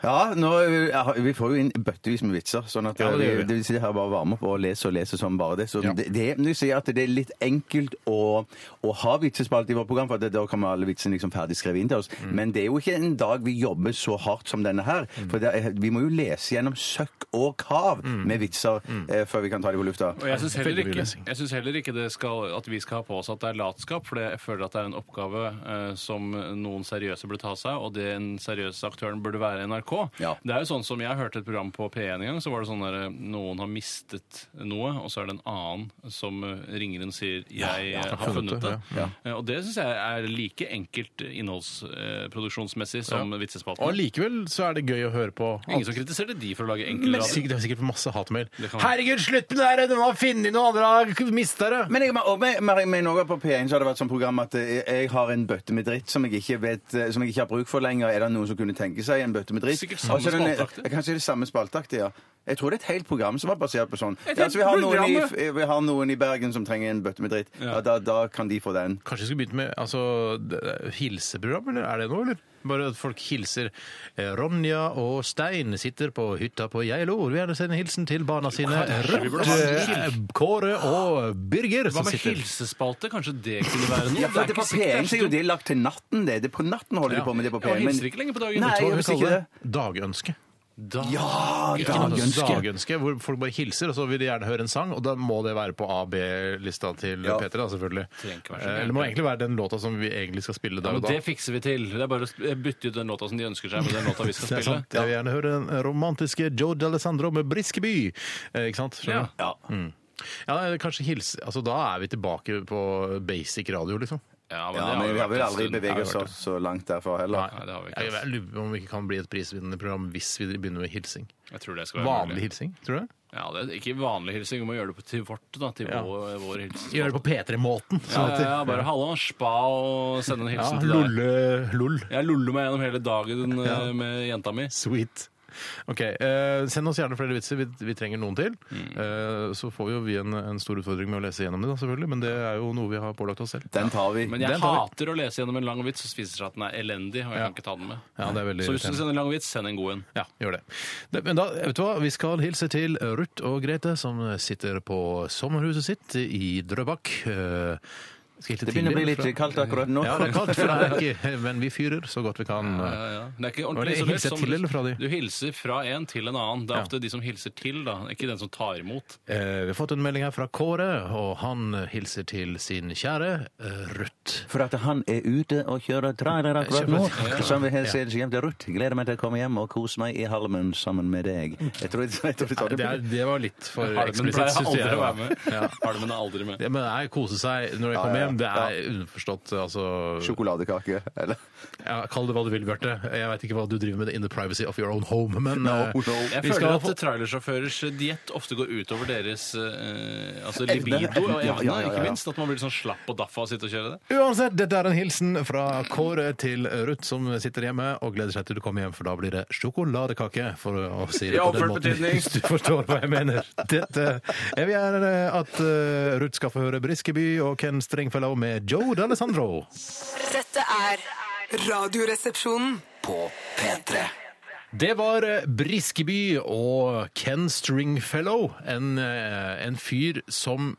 S4: Ja, nå, ja, vi får jo inn bøttevis med vitser, sånn at
S3: Ja, det
S4: det,
S3: gjør vi.
S4: vi, det vil si her bare varme opp og lese og lese som bare det. Så det, det, men du sier at det er litt enkelt å, å ha vitsespalt i vårt program, for at det, da kommer alle vitsene liksom ferdig skrevet inn til oss.
S3: Mm.
S4: Men det er jo ikke en dag vi jobber så hardt som denne her, for det, er- vi må jo lese gjennom søkk og kav
S3: Mm.
S4: med vitser eh, før vi kan ta dem på lufta.
S5: Og jeg syns heller,
S3: Veldig mye
S5: ikke-
S3: lesing.
S5: jeg synes heller ikke det skal, at vi skal ha på oss at det er latskap, for jeg føler at det er en oppgave eh, som noen seriøse burde ta seg av, og den seriøse aktøren burde være NRK.
S4: Ja.
S5: Det er jo sånn som jeg hørte et program på P1 en gang, så var det sånn der eh, noen har mistet noe, og så er det en annen som eh, ringer inn og sier 'jeg eh, har funnet det'.
S3: ja.
S5: Eh, Og det syns jeg er like enkelt innholdsproduksjonsmessig som vitsespalten.
S3: og likevel så er det gøy å høre på.
S5: Ingen som kritiserer de for å lage enkel
S3: Men
S5: radio.
S3: sikkert, det er sikkert masse hatmail.
S5: Det kan være.
S3: Herregud, slutt med det her! Noen har funnet noe, andre har mista det!
S4: Men jeg, og med, med, med noe på P1 så har det vært sånn program at eh, jeg har en bøtte med dritt som jeg ikke, vet, eh, som jeg ikke har bruk for lenger. Er det noen som kunne tenke seg en bøtte med dritt?
S5: Sikkert samme
S4: Og så er det en-
S5: spalteaktig.
S4: Kanskje det er samme spalteaktig, ja. Jeg tror det er et helt program som var basert på sånn.
S5: Et
S4: Ja, altså, vi, har noen i,
S5: helt
S4: vi har noen i Bergen som trenger en bøtte med dritt. Ja. da, da kan de få den.
S3: Kanskje vi skulle begynt med altså, d- hilseprogram, eller er det noe, eller? Bare at folk hilser. Eh, Ronja og Stein sitter på hytta på Geilo. Vil gjerne sende hilsen til barna sine.
S5: Kanskje vi burde
S3: Rødt,
S5: ha en
S3: eh, Kåre og Birger
S5: Hva
S3: som
S5: med
S3: sitter
S5: hilsespalte? Kanskje det kunne være noe?
S4: Ja, for det
S5: Det
S4: er
S5: er
S4: på
S5: ikke sikkert
S4: P1 så er jo det lagt til natten, det. det er på natten holder
S3: Ja.
S4: de på med det på
S5: Ja,
S4: P1.
S5: man hilser ikke lenger på dagen.
S4: Nei,
S3: Hva
S4: jeg
S3: vi
S4: visste
S3: kaller
S4: ikke det.
S3: det? Dagønske.
S5: Da-
S4: Ja,
S5: Ikke noe
S4: dagønske.
S3: Dagønske, Hvor folk bare hilser, og så vil de gjerne høre en sang. Og da må det være på AB-lista til
S4: Ja.
S3: P3, da, selvfølgelig.
S5: Trenger ikke være så
S3: Eh, Det må egentlig være den låta som vi egentlig skal spille der
S5: Men
S3: og da.
S5: det fikser vi til. Det er bare å sp- eh, bytte ut den låta som de ønsker seg, med den låta vi
S3: [LAUGHS]
S5: skal
S3: Det er
S5: spille.
S3: sant. Jeg vil gjerne høre den romantiske George Alessandro med Briskeby. Eh, ikke sant? Skjønner
S5: Ja.
S3: du?
S5: Mm.
S3: Mm. Ja, nei, kanskje hilse Altså, da er vi tilbake på basic radio, liksom.
S5: Ja,
S4: Ja,
S5: det
S4: men vi har vel
S5: vært en
S4: aldri
S5: stund.
S4: beveget
S5: Ja, det har
S4: oss så langt derfra heller.
S5: Nei, det har vi ikke,
S3: Jeg, jeg lurer på om vi ikke kan bli et prisvinnende program hvis vi begynner med hilsing.
S5: vært det. Jeg tror det skal være
S3: Vanlig
S5: mulig.
S3: hilsing, tror du det?
S5: Ja, det er ikke vanlig hilsing. Vi må gjøre det på- til vårt, da. Til vår, vår hilsen.
S3: Gjør det på P3-måten.
S5: Ja,
S3: sånn at-
S5: ja, ja, bare halla, spa, og sende en
S3: ja,
S5: hilsen til deg.
S3: Lolle. Lol.
S5: Jeg luller meg gjennom hele dagen eh, med jenta mi.
S3: Sweet. Ok, eh, Send oss gjerne flere vitser. Vi, vi trenger noen til.
S5: Mm.
S3: Eh, så får vi jo vi en, en stor utfordring med å lese gjennom det, da, selvfølgelig. Men det er jo noe vi har pålagt oss selv.
S4: Den tar vi.
S5: Men jeg
S3: Den tar
S5: hater å lese gjennom en lang vits og spiser at den er elendig. og jeg kan ikke ta den med.
S3: Ja, det er veldig
S5: Så hvis du
S3: irriterende.
S5: sender en lang vits, send en god en.
S3: Ja, gjør det. det men da, vet du hva, vi skal hilse til Ruth og Grete, som sitter på sommerhuset sitt i Drøbak. Eh, skal jeg hilte
S4: Det begynner å bli
S3: tidlig,
S4: litt kaldt akkurat nå.
S3: Ja, det er kaldt, for det
S4: [LAUGHS]
S3: er ikke, men vi fyrer så godt vi kan.
S5: Ja, ja. Det er ikke
S3: Var det
S5: ordentlig isolert.
S3: hilser
S5: som-
S3: til eller fra de?
S5: Du hilser fra en til en annen. Det er
S3: Ja.
S5: ofte de som hilser til, da. Ikke den som tar imot.
S3: Eh, vi har fått en melding her fra Kåre, og han hilser til sin kjære eh, Ruth.
S4: For at han er ute og kjører trailer akkurat nå.
S3: Kjempe-
S4: Så han vil helst hilse hjem til Ruth. Gleder meg til å komme hjem og kose meg i halmen sammen med deg. Jeg tror, jeg tror vi tar det
S3: Det, er, det var litt for
S5: Halmen
S3: eksplisitt,
S5: pleier
S3: syns
S5: aldri
S3: jeg.
S5: å
S3: da.
S5: være med. [LAUGHS]
S3: Ja.
S5: Halmen er aldri med.
S3: Ja, men nei, kose seg når jeg
S4: Ja,
S3: kommer
S4: ja,
S3: hjem, det
S4: ja.
S3: er underforstått. Altså,
S4: Sjokoladekake, eller?
S3: ja, kall det hva du vil, Bjarte. Jeg veit ikke hva du driver med in the privacy of your own home, men eh,
S5: Jeg
S3: Vi
S5: føler
S3: skal
S5: at
S3: få-
S5: trailersjåførers eh, diett ofte går utover deres eh, altså
S4: Evne.
S5: libido og evne,
S4: Ja, ja, ja, ja.
S5: ikke minst. At man blir sånn slapp og daff av å sitte og kjøre det.
S3: Uansett, dette er en hilsen fra Kåre til Ruth, som sitter hjemme og gleder seg til du kommer hjem, for da blir det sjokoladekake, for å si det
S5: I
S3: på den
S5: overført
S3: måten,
S5: betydning.
S3: hvis du forstår hva jeg mener. Dette, jeg vil gjerne at eh, Ruth skal få høre Briskeby og Ken Stringfellow med Joe D'Alessandro.
S6: Dette er Radioresepsjonen.
S2: På P3.
S3: Det var eh, Briskeby og Ken Stringfellow, en, eh, en fyr som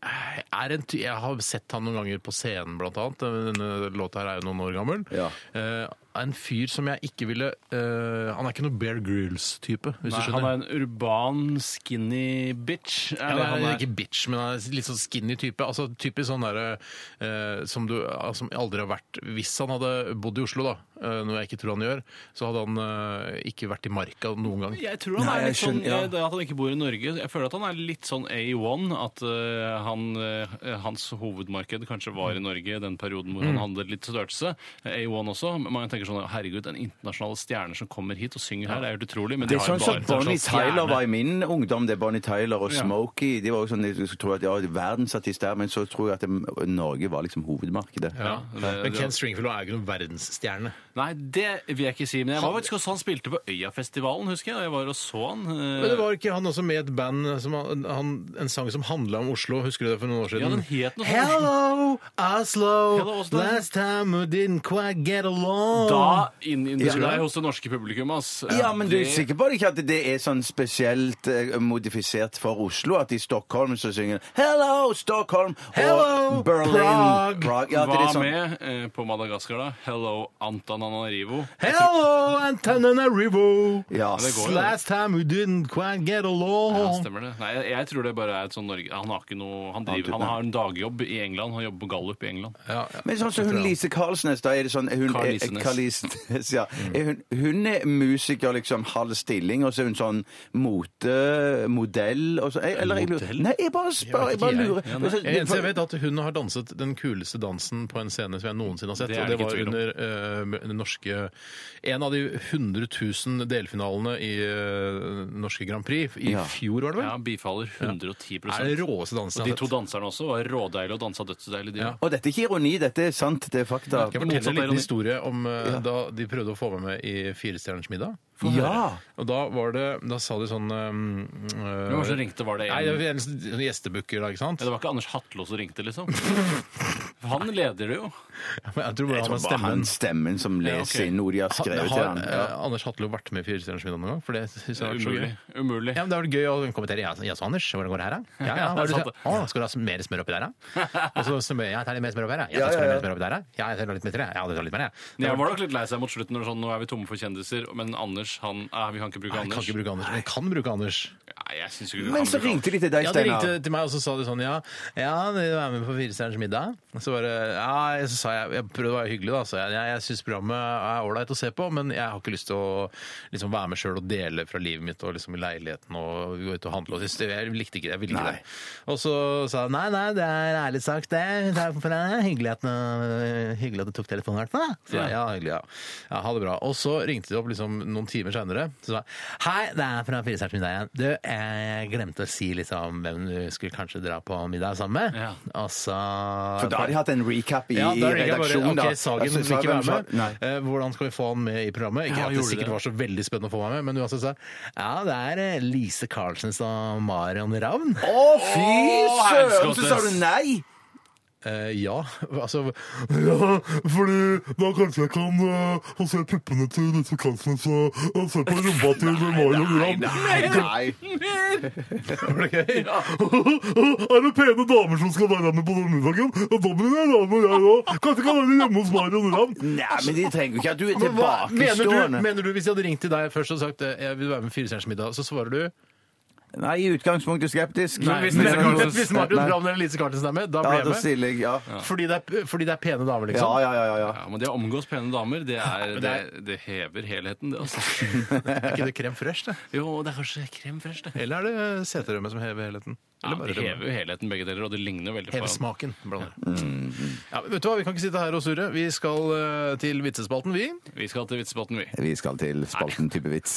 S3: eh, er en ty Jeg har sett han noen ganger på scenen, blant annet. Denne låta her er jo noen år gammel.
S4: Ja.
S3: Eh, en fyr som jeg ikke ville eh, Han er ikke noe Bear Grylls-type, hvis
S5: Nei,
S3: du
S5: han
S3: skjønner.
S5: er en urban, skinny bitch.
S3: Ja,
S5: Eller eh,
S3: han er ikke bitch, men han er litt sånn skinny type. Altså Typisk sånn derre eh, som du altså, som aldri har vært Hvis han hadde bodd i Oslo, da, eh, noe jeg ikke tror han gjør, så hadde han eh, ikke vært i marka noen gang.
S5: Jeg tror han
S4: Nei,
S5: er litt
S4: jeg skjønner,
S5: sånn
S4: ja.
S5: eh, det At han ikke bor i Norge. Jeg føler at han er litt sånn A1. At eh, han, eh, hans hovedmarked kanskje var i Norge den perioden
S4: Mm.
S5: hvor han handlet litt størrelse. A1 også. men Man tenker sånn herregud, den internasjonale stjerner som kommer hit og synger her, er helt utrolig. Men
S4: Det
S5: de
S4: er
S5: har
S4: sånn
S5: jo
S4: som
S5: bare
S4: Bonnie Tyler
S5: stjerne.
S4: var i min ungdom. Det er Bonnie Tyler og
S5: Ja.
S4: Smokey. De var jo sånn, jeg tror at ja, verdensartist der, men så tror jeg at det, Norge var liksom hovedmarkedet.
S3: Ja.
S5: det-
S3: Men Ken Stringfellow er jo ikke noen verdensstjerne.
S5: Nei, det vil jeg ikke si. Men jeg var faktisk også han spilte på Øyafestivalen, husker jeg. Og jeg var og så han. eh,
S3: Men det var ikke han også med et band som han, han, en sang som handla om Oslo? Husker du det for noen år siden?
S5: Ja, den het noe sånt.
S3: Hello, Oslo!
S5: Hello, Oslo.
S3: Last time we didn't quite get along.
S5: da inn i
S4: Ja.
S5: deg hos det norske publikum, ass.
S4: Ja, men du er
S5: Det-
S4: sikker på det ikke at det er sånn spesielt eh, modifisert for Oslo? At i Stockholm så synger de, 'Hello, Stockholm'
S3: Hello,
S4: og 'Berlin'.
S3: Prague.
S4: Prague. Ja, det er
S5: Hva
S4: sånn.
S5: med eh, på Madagaskar, da? Hello, Antananarivo.
S3: Hello, Antananarivo!
S4: Ja,
S5: det går jo.
S3: Last time we didn't quite get
S5: Ja,
S3: along.
S5: stemmer det. Nei, jeg, jeg tror det bare er et sånn Norge... Han har ikke noe... Han, driver, han har en dagjobb i England. Han jobber på Gallup i England.
S3: Ja,
S4: Men sånn som hun Lise Karlsnes, da er det sånn hun,
S5: Carl
S4: er-
S5: Lisenes.
S4: Carl Lisenes, [LAUGHS] ja.
S3: Mm.
S4: Er hun, hun er musiker, liksom, halv stilling, og så er hun sånn motemodell og så jeg- Eller jeg lurer
S3: Modell?
S4: Nei, jeg bare spør, jeg bare lurer.
S3: Ja, nei. Jeg, eneste jeg vet at hun har danset den kuleste dansen på en scene som jeg noensinne har sett.
S5: Det er
S3: og det
S5: det ikke
S3: var
S5: tvil om.
S3: under eh, den norske En av de 100 000 delfinalene i eh, norske Grand Prix. I
S4: Ja.
S3: fjor, var det vel?
S5: Ja, bifaller 110
S3: Er det råeste dansen
S5: Og de
S3: jeg
S5: to
S3: har sett?
S5: danserne også var rådeilige og dansa dødsdeilig. De.
S3: Ja.
S4: Og dette er ikke ironi, dette er sant, det er fakta.
S3: Skal jeg fortelle
S5: Motsatt
S3: en liten
S5: ironi.
S3: historie om eh, da de prøvde å få meg med i Firestjerners middag?
S4: Ja!
S3: Og da var det Da sa de sånn um,
S5: Hvem var det som ringte? Var det en...
S3: Nei, det var en sånn gjestebooker, da, ikke sant?
S5: Ja, det var ikke Anders Hatlo som ringte,
S3: [LAUGHS]
S5: liksom. Han leder det jo.
S3: Men Jeg tror bare
S4: Jeg
S3: han
S4: tror
S3: var
S4: bare han
S3: stemmen.
S4: stemmen som leser
S5: ok.
S4: inn noe de har skrevet til
S3: har
S4: han. Ja.
S3: eh, Anders Hatlo vært med i Firestjerners middag noen gang? For det synes jeg har vært så
S5: Umulig.
S3: gøy.
S5: Umulig.
S3: Ja, men Det har vært gøy å kommentere. Ja, så- ja, så Anders, hvordan går det her, da? [LAUGHS] Ja, ja, hva er det
S5: sant
S3: du
S5: det.
S3: sa? Å, skal du ha mer smør oppi [LAUGHS] der, da? Og så smør jeg, tar litt mer smør oppi der, ja.
S4: Ja,
S3: Ja, skal du ha
S4: ja,
S3: mer smør oppi der, da? Ja, jeg tar litt mer, til det. ja, det tar litt mer, jeg.
S5: Men Jeg var nok litt lei seg mot slutten når det var sånn, nå er vi tomme for kjendisere, men Anders, han eh, Vi kan ikke bruke
S3: Nei, Jeg kan
S5: Anders.
S3: ikke bruke Anders. Men Jeg kan bruke Anders.
S5: Nei, jeg synes ikke vi
S4: Men
S5: kan
S4: så
S5: bruke
S4: ringte de til deg,
S3: Ja, De
S4: Steinar.
S3: ringte til meg og så sa de sånn Ja, ja de er med på Firestjerners middag. Og så bare, ja, så sa jeg Jeg prøvde å være hyggelig, da. Så jeg, jeg, jeg syns programmet er ålreit å se på, men jeg har ikke lyst til å liksom, være med sjøl og dele fra livet mitt og liksom i leiligheten og gå ut og handle. Og synes, det- jeg likte ikke det. Jeg ville ikke
S4: Nei.
S3: det. Og så sa jeg nei, nei, det er ærlig sagt, det. Takk for det. Hyggelig at, du- hyggelig at du tok telefonen, i hvert fall. da. Så jeg, ja, hyggelig, ja. ja. Ha det bra. Og så ringte de opp liksom, noen timer seinere. Så sa jeg hei, det er fra Firestjerners middag igjen. Du, eh, jeg glemte å si liksom hvem du skulle kanskje dra på middag sammen med.
S5: Ja.
S3: Altså
S4: For da har de hatt en recap i,
S3: ja, da er
S4: i
S3: det ikke bare,
S4: redaksjonen. da.
S3: ok, Sagen
S4: Altså,
S3: vil ikke
S4: Sagen
S3: være
S4: sa- Nei.
S3: med. Eh, Hvordan skal vi få han med i programmet? Ikke
S5: Ja,
S3: at det
S5: gjorde
S3: sikkert
S5: det.
S3: var så veldig spennende å få meg med, men uansett så Ja, det er eh, Lise Carlsens og Marion Ravn.
S4: Å, fy
S5: Å,
S4: søren! Så
S5: helskottes.
S4: sa du nei!
S3: Eh, ja, [LAUGHS] altså Ja, fordi da kanskje jeg kan uh, få se puppene til Lise Carlsen og, se på rumpa til Marion Ravn. [LAUGHS]
S4: nei.
S3: Var det gøy? er det pene damer som skal være med på den middagen? Og da blir jeg ravn og jeg òg. Kanskje kan være hjemme hos Marion Ravn.
S4: Nei, men de trenger jo ikke at du er
S3: Men hva mener du,
S4: tilbakestående.
S3: mener du hvis jeg hadde ringt til deg først og sagt eh, jeg vil være med på Firestjerners middag, så svarer du
S4: Nei, i utgangspunktet skeptisk.
S5: Nei,
S3: Hvis,
S5: Lise
S3: men,
S5: Carlsen-
S3: hvis Martin Ravn eller Lise Carlsen er med, da
S4: Ja,
S3: blir jeg
S4: da
S3: med.
S4: stiller jeg, ja.
S3: Fordi det er, fordi det er pene damer,
S4: Ja,
S3: liksom.
S4: ja, ja, ja, ja.
S5: Ja, men det å omgås pene damer, det, er, det,
S3: er-
S5: det hever helheten, det,
S3: [LAUGHS]
S5: altså.
S3: Er ikke det krem fresh, det?
S5: Jo, det er kanskje krem først, det.
S3: Eller er det seterømme som hever helheten?
S5: Ja,
S3: Eller
S5: det
S3: bare rømme?
S5: hever jo helheten begge deler, og det ligner jo veldig
S3: Hever smaken. blander.
S5: Mm.
S3: Ja, men vet du hva, Vi kan ikke sitte her og surre. Vi skal eh, til vitsespalten, vi.
S5: Vi skal til vitsebåten, vi.
S4: Vi skal til spalten type vits.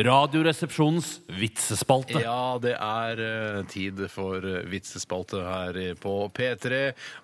S7: Radioresepsjonens vitsespalte.
S3: Ja, det er eh, tid for eh, vitsespalte her i- på P3.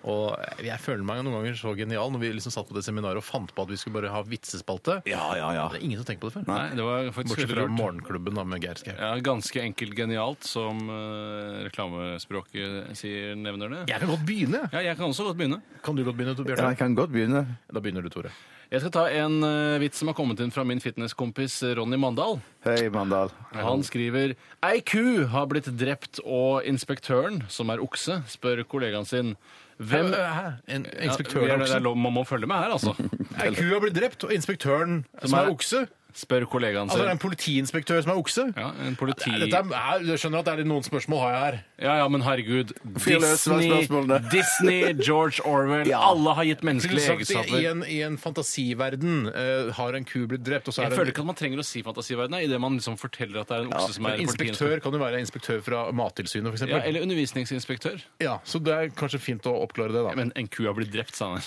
S3: Og jeg føler meg noen ganger så genial når vi liksom satt på det seminaret og fant på at vi skulle bare ha vitsespalte.
S4: Ja, ja, ja.
S3: Det er ingen som tenker på det før.
S5: Nei, det var faktisk
S3: Bortsett
S5: veldig
S3: fra
S5: lurt.
S3: Morgenklubben da, med Geir Skau.
S5: Ja, ganske enkelt genialt, som eh, reklamespråket sier, nevner det.
S3: Jeg kan godt begynne. jeg.
S5: Ja, jeg kan også godt begynne.
S3: Kan du godt begynne, Tor
S4: Ja,
S3: Bjørnar?
S4: jeg kan godt begynne.
S3: Da begynner du, Tore.
S5: Jeg skal ta en eh, vits som har kommet inn fra min fitnesskompis Ronny Mandal.
S4: Hei, Mandal.
S5: Han skriver Ei ku har blitt drept, og inspektøren, som er okse, spør kollegaen sin Hvem
S3: Hæ? eh, Hæ? En
S5: Ja,
S3: inspektør
S5: vi er-
S3: er
S5: det er
S3: okse?
S5: lov- Man må følge med her,
S3: [LAUGHS]
S5: altså.
S3: Ei ku har blitt drept, og inspektøren som,
S5: er-
S3: er okse?
S5: Spør kollegaen
S3: Altså det er
S5: sin.
S3: en politiinspektør som er okse?
S5: Ja, en politi...
S3: Dette er, her- jeg skjønner at det er noen spørsmål har jeg her.
S5: Ja, ja, men herregud.
S4: Fyr løs, hva er
S3: [LAUGHS]
S5: Disney,
S4: spørsmålene?
S5: Disney George Orwell.
S4: Ja.
S5: Alle har gitt
S3: Skulle
S5: menneskelige
S3: sagt i, i,
S5: egenskaper.
S3: en, I en fantasiverden eh, har en ku blitt drept, og så er
S5: Jeg
S3: det
S5: føler
S3: en
S5: ikke at man trenger å si fantasiverdenen idet man liksom forteller at det er en okse som
S3: Men
S5: er en
S3: Inspektør kan jo være inspektør fra Mattilsynet, f.eks.
S5: Ja, eller undervisningsinspektør.
S3: Ja, så det er kanskje fint å oppklare det, da.
S5: Men en ku har blitt drept, sa han.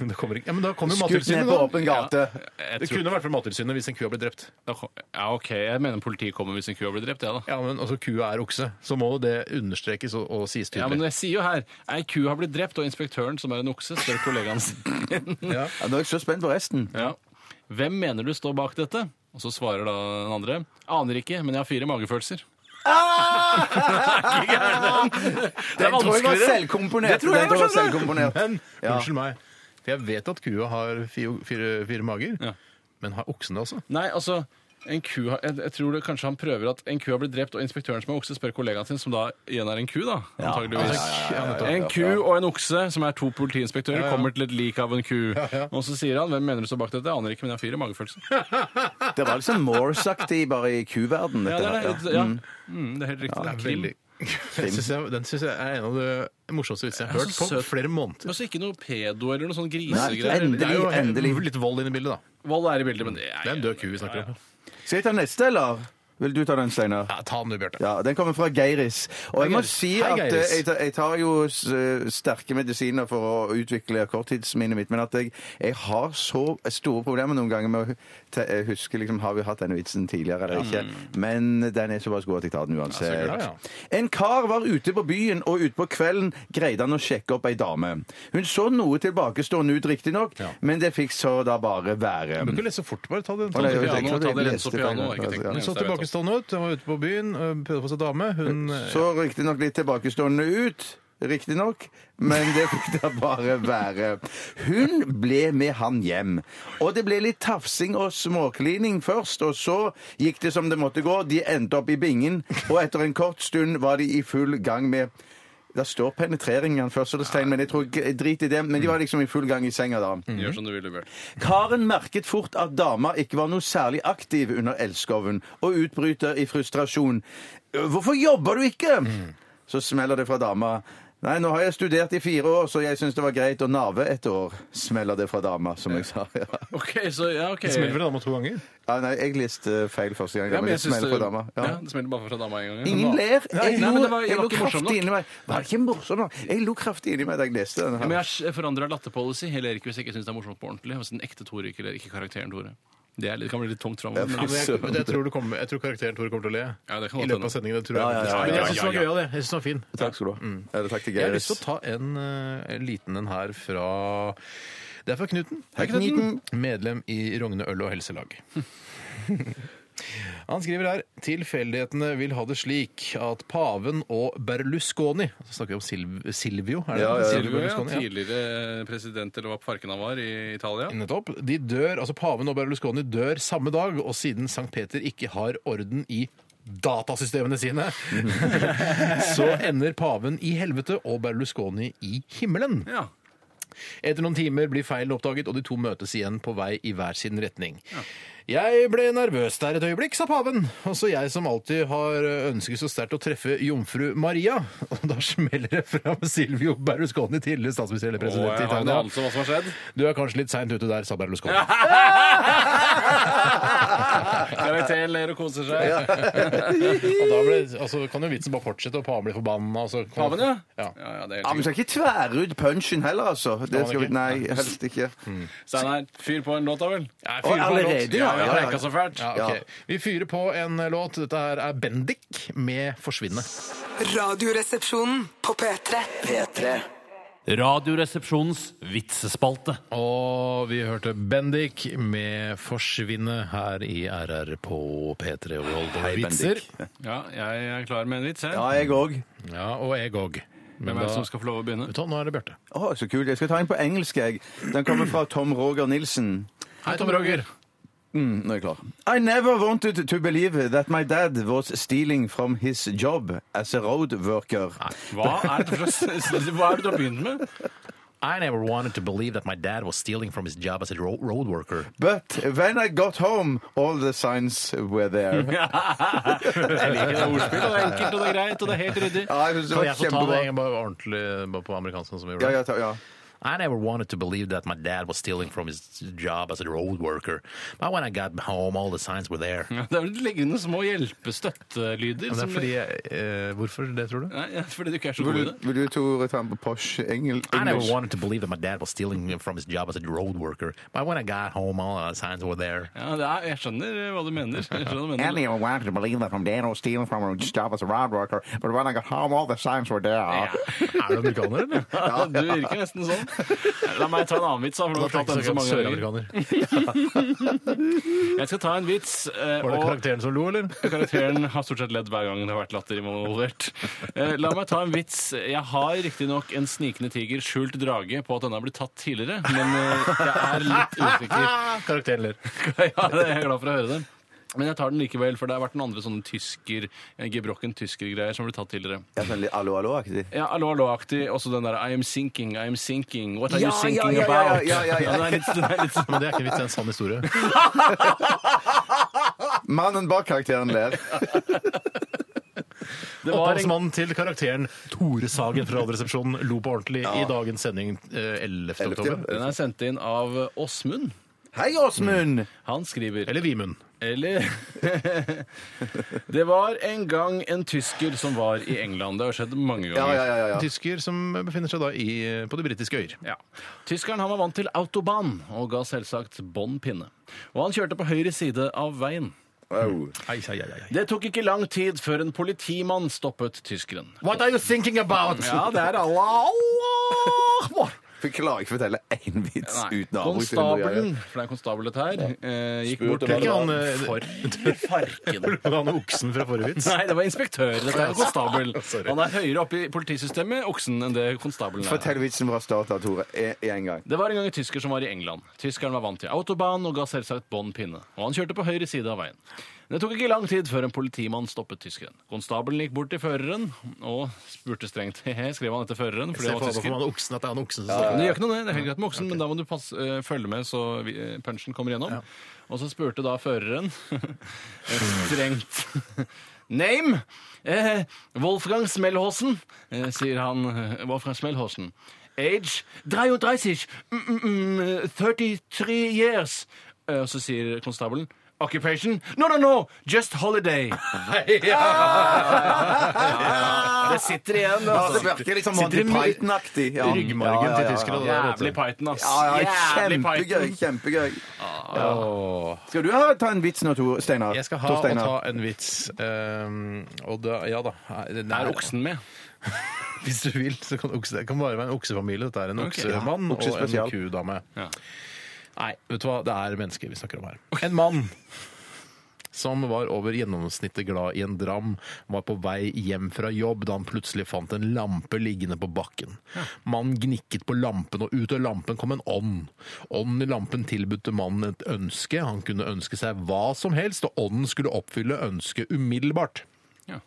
S3: Men, [LAUGHS] det kommer ikke. Ja, men da kommer jo
S4: Skutt
S3: Mattilsynet,
S4: ned på
S3: da.
S4: åpen gate.
S5: Jeg
S3: Det
S5: tror-
S3: kunne vært fra Mattilsynet hvis en ku har blitt drept.
S5: Da kom- Ja, OK, jeg mener politiet kommer hvis en ku har blitt drept, jeg, da.
S3: Ja, men altså, kua er okse, så må jo det understrekes og, og sies
S5: Ja, men
S3: tydelig.
S5: jeg sier jo her ei ku har blitt drept, og inspektøren, som er en okse, spør kollegaen sin.
S4: Ja, nå er jeg så spent på resten.
S5: [LAUGHS] Ja. Hvem mener du står bak dette? Og så svarer da den andre. Aner ikke, men jeg har fire magefølelser. Ikke gæren, den. Det
S4: Den tror jeg var
S5: vanskeligere.
S4: selvkomponert.
S5: Det tror jeg
S4: Den tror jeg
S5: var sånn
S4: var selvkomponert.
S3: Men,
S4: Ja.
S3: unnskyld meg, for jeg vet at kua har fire, fire, fire mager,
S5: Ja.
S3: men har oksen det også?
S5: Nei, altså en ku har, jeg, jeg tror det, kanskje han prøver at en ku har blitt drept, og inspektøren som er okse, spør kollegaen sin, som da igjen er en ku, da. Antageligvis. En ku og en okse, som er to politiinspektører, kommer til et lik av en ku. Og så sier han 'Hvem mener du står bak dette?' Jeg Aner ikke, men jeg har fire magefølelser.
S4: Det var liksom Morse-aktig bare i kuverden. dette
S5: Ja, det er,
S4: her,
S5: det. ja. Mm, det er helt riktig.
S3: Det er
S5: det er
S4: [LAUGHS]
S5: krim.
S3: veldig... Den syns jeg, den synes jeg er en av de morsomste vitsene jeg har
S5: Ja,
S3: hørt
S5: så
S3: på
S5: søt.
S3: flere måneder.
S5: Men også Altså, ikke noe pedo eller noe sånn
S4: Nei,
S5: grisegreier.
S4: endelig.
S3: Det er jo
S4: endelig.
S3: litt vold inne i bildet, da.
S5: Vold er i bildet, men det er,
S3: Det er en død ku vi snakker om.
S4: ja. Skal jeg ta neste, eller? Vil du ta den, Steinar?
S3: Ja, ta den du, Bjarte.
S4: Ja, Den kommer fra Geiris. Og jeg må
S3: Geiris.
S4: si
S3: Hei,
S4: at eh,
S3: Geiris.
S4: jeg, tar- jeg tar jo s- eh, sterke medisiner for å utvikle korttidsminnet mitt, men at jeg, jeg har så store problemer noen ganger med å hu- te- eh, huske liksom, Har vi hatt denne vitsen tidligere eller ikke? Men den er såpass god at jeg tar den uansett.
S3: Mm. Ja, så glad,
S4: En kar var ute på byen, og utpå kvelden greide han å sjekke opp ei dame. Hun så noe tilbakestående ut, riktignok,
S3: Ja.
S4: men det fikk så da bare være.
S3: Du kan lese fort, bare. Ta den.
S4: Å, nei, jeg vet
S5: piano,
S4: ikke, jeg
S5: ta det
S4: leste
S5: rense opp
S4: feil.
S5: piano, har jeg ikke tenkt
S4: Ja.
S5: den.
S3: Hun så tilbakestående ut. Hun var ute på byen, øh, prøvde å få seg dame. Hun øh,
S4: Så riktignok litt tilbakestående ut. Riktignok, men det [LAUGHS] fikk da bare være. Hun ble med han hjem. Og det ble litt tafsing og småklining først, og så gikk det som det måtte gå. De endte opp i bingen, og etter en kort stund var de i full gang med Der står penetreringen først, så det stein, men jeg tror ikke- drit i det. Men de var liksom i full gang i senga da.
S5: Gjør som du vil, Bjørn.
S4: Karen merket fort at dama ikke var noe særlig aktiv under elskoven, og utbryter i frustrasjon. «Øh, 'Hvorfor jobber du ikke?' Så smeller det fra dama. Nei, nå har jeg studert i fire år, så jeg syns det var greit å narve et år. Smeller det fra dama, som jeg sa. Ja.
S5: OK, så ja, OK.
S3: Det smeller vel dama to ganger?
S4: Ja, nei, jeg leste eh, feil første gang.
S5: Ja, men jeg
S4: det
S5: synes
S4: smeller
S5: det-
S4: fra dama. Ja.
S5: Ja, det smeller bare fra dama en gang. ja.
S4: Ingen ler.
S5: Nei,
S4: Jeg
S5: nei, men
S4: lo,
S5: det var- jeg
S4: jeg
S5: var
S4: lo
S5: ikke morsom
S4: kraftig
S5: nok.
S4: inni meg. Var det ikke morsom nok? Jeg lo kraftig inni meg da jeg leste den.
S5: Men
S4: her.
S5: jeg forandrer latterpolicy. Jeg ler ikke hvis jeg ikke syns det er morsomt på ordentlig. Hvis den ekte Tore ikke ler, ikke karakteren Tore. Det, er, litt- det kan bli litt tungt
S3: Ja,
S5: framover. Men... altså,
S3: men jeg, men jeg, tror det kommer, jeg tror karakteren Tore kommer til å le
S5: Ja, det kan
S3: i
S5: godt
S3: løpet av
S5: hende.
S3: sendingen. Det tror jeg.
S4: Ja, ja, ja, ja,
S3: Men jeg
S4: ja,
S3: syns den var gøy av det. Jeg synes den var fin.
S4: Takk skal du ha.
S5: Mm.
S4: Eller takk til
S3: Jeg har
S4: Geiris.
S3: lyst til å ta en, eh, en liten en her fra Det er fra Knuten.
S4: Hei, Knuten.
S3: Medlem i Rogne øl- og helselag. [LAUGHS] Han skriver her tilfeldighetene vil ha det slik at paven og Berlusconi Så snakker vi om Silv Silvio, er det?
S4: Ja, ja, sånn, ja. Mm.
S5: Silvio, ja,
S3: Berlusconi,
S5: tidligere president eller hva farken han var i Italia.
S3: Nettopp. De dør, altså Paven og Berlusconi dør samme dag, og siden Sankt Peter ikke har orden i datasystemene sine, [LAUGHS] så ender paven i helvete og Berlusconi i himmelen.
S5: Ja.
S3: Etter noen timer blir feilen oppdaget, og de to møtes igjen på vei i hver sin retning. Jeg ble nervøs der et øyeblikk, sa paven. Også jeg som alltid har ønsket så sterkt å treffe jomfru Maria. Og da smeller det fram Silvio Berlusconi, tidligere statsminister eller
S5: Og
S3: president i
S5: jeg har en
S3: Italia.
S5: anelse om hva som
S4: [LAUGHS]
S5: har skjedd.
S3: Du er kanskje litt seint ute der, sa
S5: [LAUGHS]
S3: Berlusconi.
S5: Karakteren ler og koser seg.
S3: Og da ble, altså, kan jo vitsen bare fortsette, og paven blir forbanna. Og så kan,
S5: Paven, ja.
S3: Ja.
S5: ja, ja det er
S4: Ja, men
S5: helt
S4: skal ikke tvære ut punchen heller, altså. Det skal
S3: ikke?
S4: vi,
S3: Hmm.
S4: nei, helst ikke.
S5: Steinar, fyr på en låt da vel?
S3: Jeg
S4: Å, allerede, ja,
S5: Jeg
S4: ja, ja.
S5: preika så fælt.
S3: Ja, ok. Vi fyrer på en låt. Dette her er Bendik med 'Forsvinne'.
S6: Radioresepsjonen på P3.
S2: P3.
S7: Radioresepsjonens vitsespalte.
S3: Og vi hørte Bendik med 'Forsvinne' her i RR på P3 og Volvo
S4: Hei,
S3: Vitser.
S4: Bendik.
S5: Ja, jeg er klar med en vits, jeg.
S4: Ja, jeg òg.
S3: Ja, og jeg òg. Men
S5: Hvem er
S3: da-
S5: det som skal få lov å begynne?
S3: Vet du hva, Nå er det Bjarte.
S4: Å, så kult. Jeg skal ta en på engelsk, jeg. Den kommer fra Tom Roger Nilsen.
S3: Hei, Tom Roger.
S4: Mm, nå er jeg klar. I never wanted to believe that my dad was stealing from his job as a road worker.
S5: Hva er det for slags Hva er det du har begynt med?
S3: I never wanted to believe that my dad was stealing from his job as a ro road worker.
S4: But when I got home, all the signs were
S3: [LAUGHS]
S4: there.
S5: [LAUGHS] Jeg liker det ordspillet. Det er enkelt, og det er greit, og det er helt ryddig.
S4: Ja, jeg synes
S3: Kan
S4: det var
S3: jeg få ta det
S4: kjempebra.
S3: egentlig bare ordentlig bare på amerikansk? Som vi gjorde?
S4: Ja, ja, ta, ja.
S3: I never wanted to believe that my dad was stealing from his job as a road worker, but when I got home, all the signs were there.
S5: Ja, Det er vel liggende små hjelpestøttelyder. som-
S3: eh, Hvorfor det, tror du?
S5: Nei, ja, fordi du ikke er så god i
S4: Vil,
S5: det.
S4: vil du, Tore, ta en på Posh engel,
S3: I never
S4: engelsk?
S3: wanted to believe that my dad was stealing from his job as a road worker, but when I got home, all the signs were there.
S5: Ja, det er, jeg skjønner eh, hva du mener. Jeg skjønner hva du
S8: I
S5: mener.
S8: never wanted to believe that from dad was stealing from her job as a road worker, but when I got home, all the signs were there.
S3: [LAUGHS] Er du amerikaner, eller?
S5: [LAUGHS] Ja, du virker nesten sånn. La meg ta en annen vits, da. For du har fortalt den så mange ganger. [LAUGHS]
S3: Søramerikaner.
S5: Jeg skal ta en vits. eh,
S3: Var det
S5: og-
S3: karakteren som lo,
S5: [LAUGHS]
S3: eller?
S5: Karakteren har stort sett ledd hver gang det har vært latter involvert. Eh, La meg ta en vits. Jeg har riktignok en snikende tiger skjult drage på at denne har blitt tatt tidligere, men eh, jeg er litt usikker.
S3: Karakteren ler.
S5: Ja, det er jeg glad for å høre det. Men jeg tar den likevel, for det har vært noen andre sånne tysker, eh, gebrokken tyskergreier som ble tatt tidligere.
S4: Ja, sånn litt Allo, allo-aktig.
S5: Ja, Allo Allo-aktig. Også den derre I am sinking, I am sinking, what are
S4: Ja,
S5: you sinking
S4: ja, ja, ja,
S5: about?
S4: ja, ja, ja.
S5: den er litt, den er litt
S4: [LAUGHS]
S5: sånn.
S3: Men det er ikke en vits, det er en sann
S5: [LAUGHS]
S3: historie.
S4: Mannen bak karakteren ler.
S5: Det var en-
S3: Opphavsmannen til karakteren Tore Sagen fra Radioresepsjonen lo på ordentlig i dagens sending eh, 11. oktober.
S5: Den er sendt inn av eh, Åsmund.
S4: [LAUGHS] Hei, Åsmund!
S5: Han skriver
S3: Eller Vimund.
S5: Eller [LAUGHS] Det var en gang en tysker som var i England. Det har skjedd mange
S4: Ja,
S5: ganger.
S4: ja, ja, ja.
S3: En tysker som befinner seg da i, eh, på de britiske øyer.
S5: Ja. Tyskeren han var vant til autobahn og ga selvsagt bånn pinne. Og han kjørte på høyre side av veien.
S4: Au.
S3: Hei, hei, hei, hei.
S5: Det tok ikke lang tid før en politimann stoppet tyskeren.
S3: What are you thinking about?
S5: Ja, det [LAUGHS] er Allah, Allah Akbar.
S4: For jeg klarer ikke å fortelle én vits
S5: Nei,
S4: uten å avbryte.
S5: Konstabelen, for det er en konstabel dette her, eh, gikk bort
S3: om
S5: til
S3: han
S5: han eh,
S3: var-
S5: for farken.
S3: Han oksen fra forrige vits.
S5: Nei, det var inspektør. Dette er en konstabel.
S3: Sorry.
S5: Han er høyere oppe i politisystemet, oksen, enn det konstabelen er.
S4: Fortell vitsen fra start av, Tore. I i en gang.
S5: Det var en gang en tysker som var i England. Tyskeren var vant til autobahn og ga selvsagt bånn pinne, og han kjørte på høyre side av veien. Det tok ikke lang tid før en politimann stoppet tyskeren. Konstabelen gikk bort til føreren og spurte strengt. [LAUGHS] Hehe, skrev han etter føreren fordi
S3: Se
S5: han
S3: for
S5: var
S3: deg
S5: tysker.
S3: han oksen, at det er han oksen som
S5: Men
S3: snakker.
S5: Det gjør ikke noe, det. Det er helt greit med oksen, men da må du passe, eh, følge med så vi, eh, [LAUGHS] punchen kommer gjennom. Og så spurte da føreren eh, strengt [LAUGHS] Name? Eh, Wolfgang Smellhåsen, eh, sier han. eh, Wolfgang Smellhåsen. Age 33, mm, mm, mm, 33 years. Eh, så sier konstabelen. Occupation? No, no, no! Just
S4: [LAUGHS]
S5: holiday.
S3: [LAUGHS]
S5: Det sitter igjen.
S4: Ja,
S5: Altså.
S4: det virker liksom
S3: Sitter
S4: Monty
S3: i my-
S4: Python-aktig. Ja.
S3: Ryggmargen
S4: Ja, ja,
S3: til
S4: ja.
S3: tyskerne. der, vet du.
S5: Jævlig Python, ass.
S4: Ja, ja,
S5: Jævlig
S4: kjempegøy.
S5: Python.
S4: kjempegøy.
S3: Åh.
S4: Skal du ha, ta en vits nå, Tor Steinar?
S3: Jeg skal ha
S4: Tor
S3: og
S4: Steinar.
S3: ta en vits. Um, og da, ja da. Den
S5: Er oksen med?
S3: [LAUGHS] Hvis du vil, så kan okse, det kan bare være en oksefamilie. Dette er en
S5: Ok, ja.
S3: oksemann og
S4: Oksespesial.
S3: en kudame.
S5: Ja.
S3: Nei, vet du hva? Det er mennesker vi snakker om her. En mann som var over gjennomsnittet glad i en dram, var på vei hjem fra jobb da han plutselig fant en lampe liggende på bakken. Mannen gnikket på lampen, og ut av lampen kom en ånd. Ånden i lampen tilbudte mannen et ønske. Han kunne ønske seg hva som helst, og ånden skulle oppfylle ønsket umiddelbart.
S5: Ja.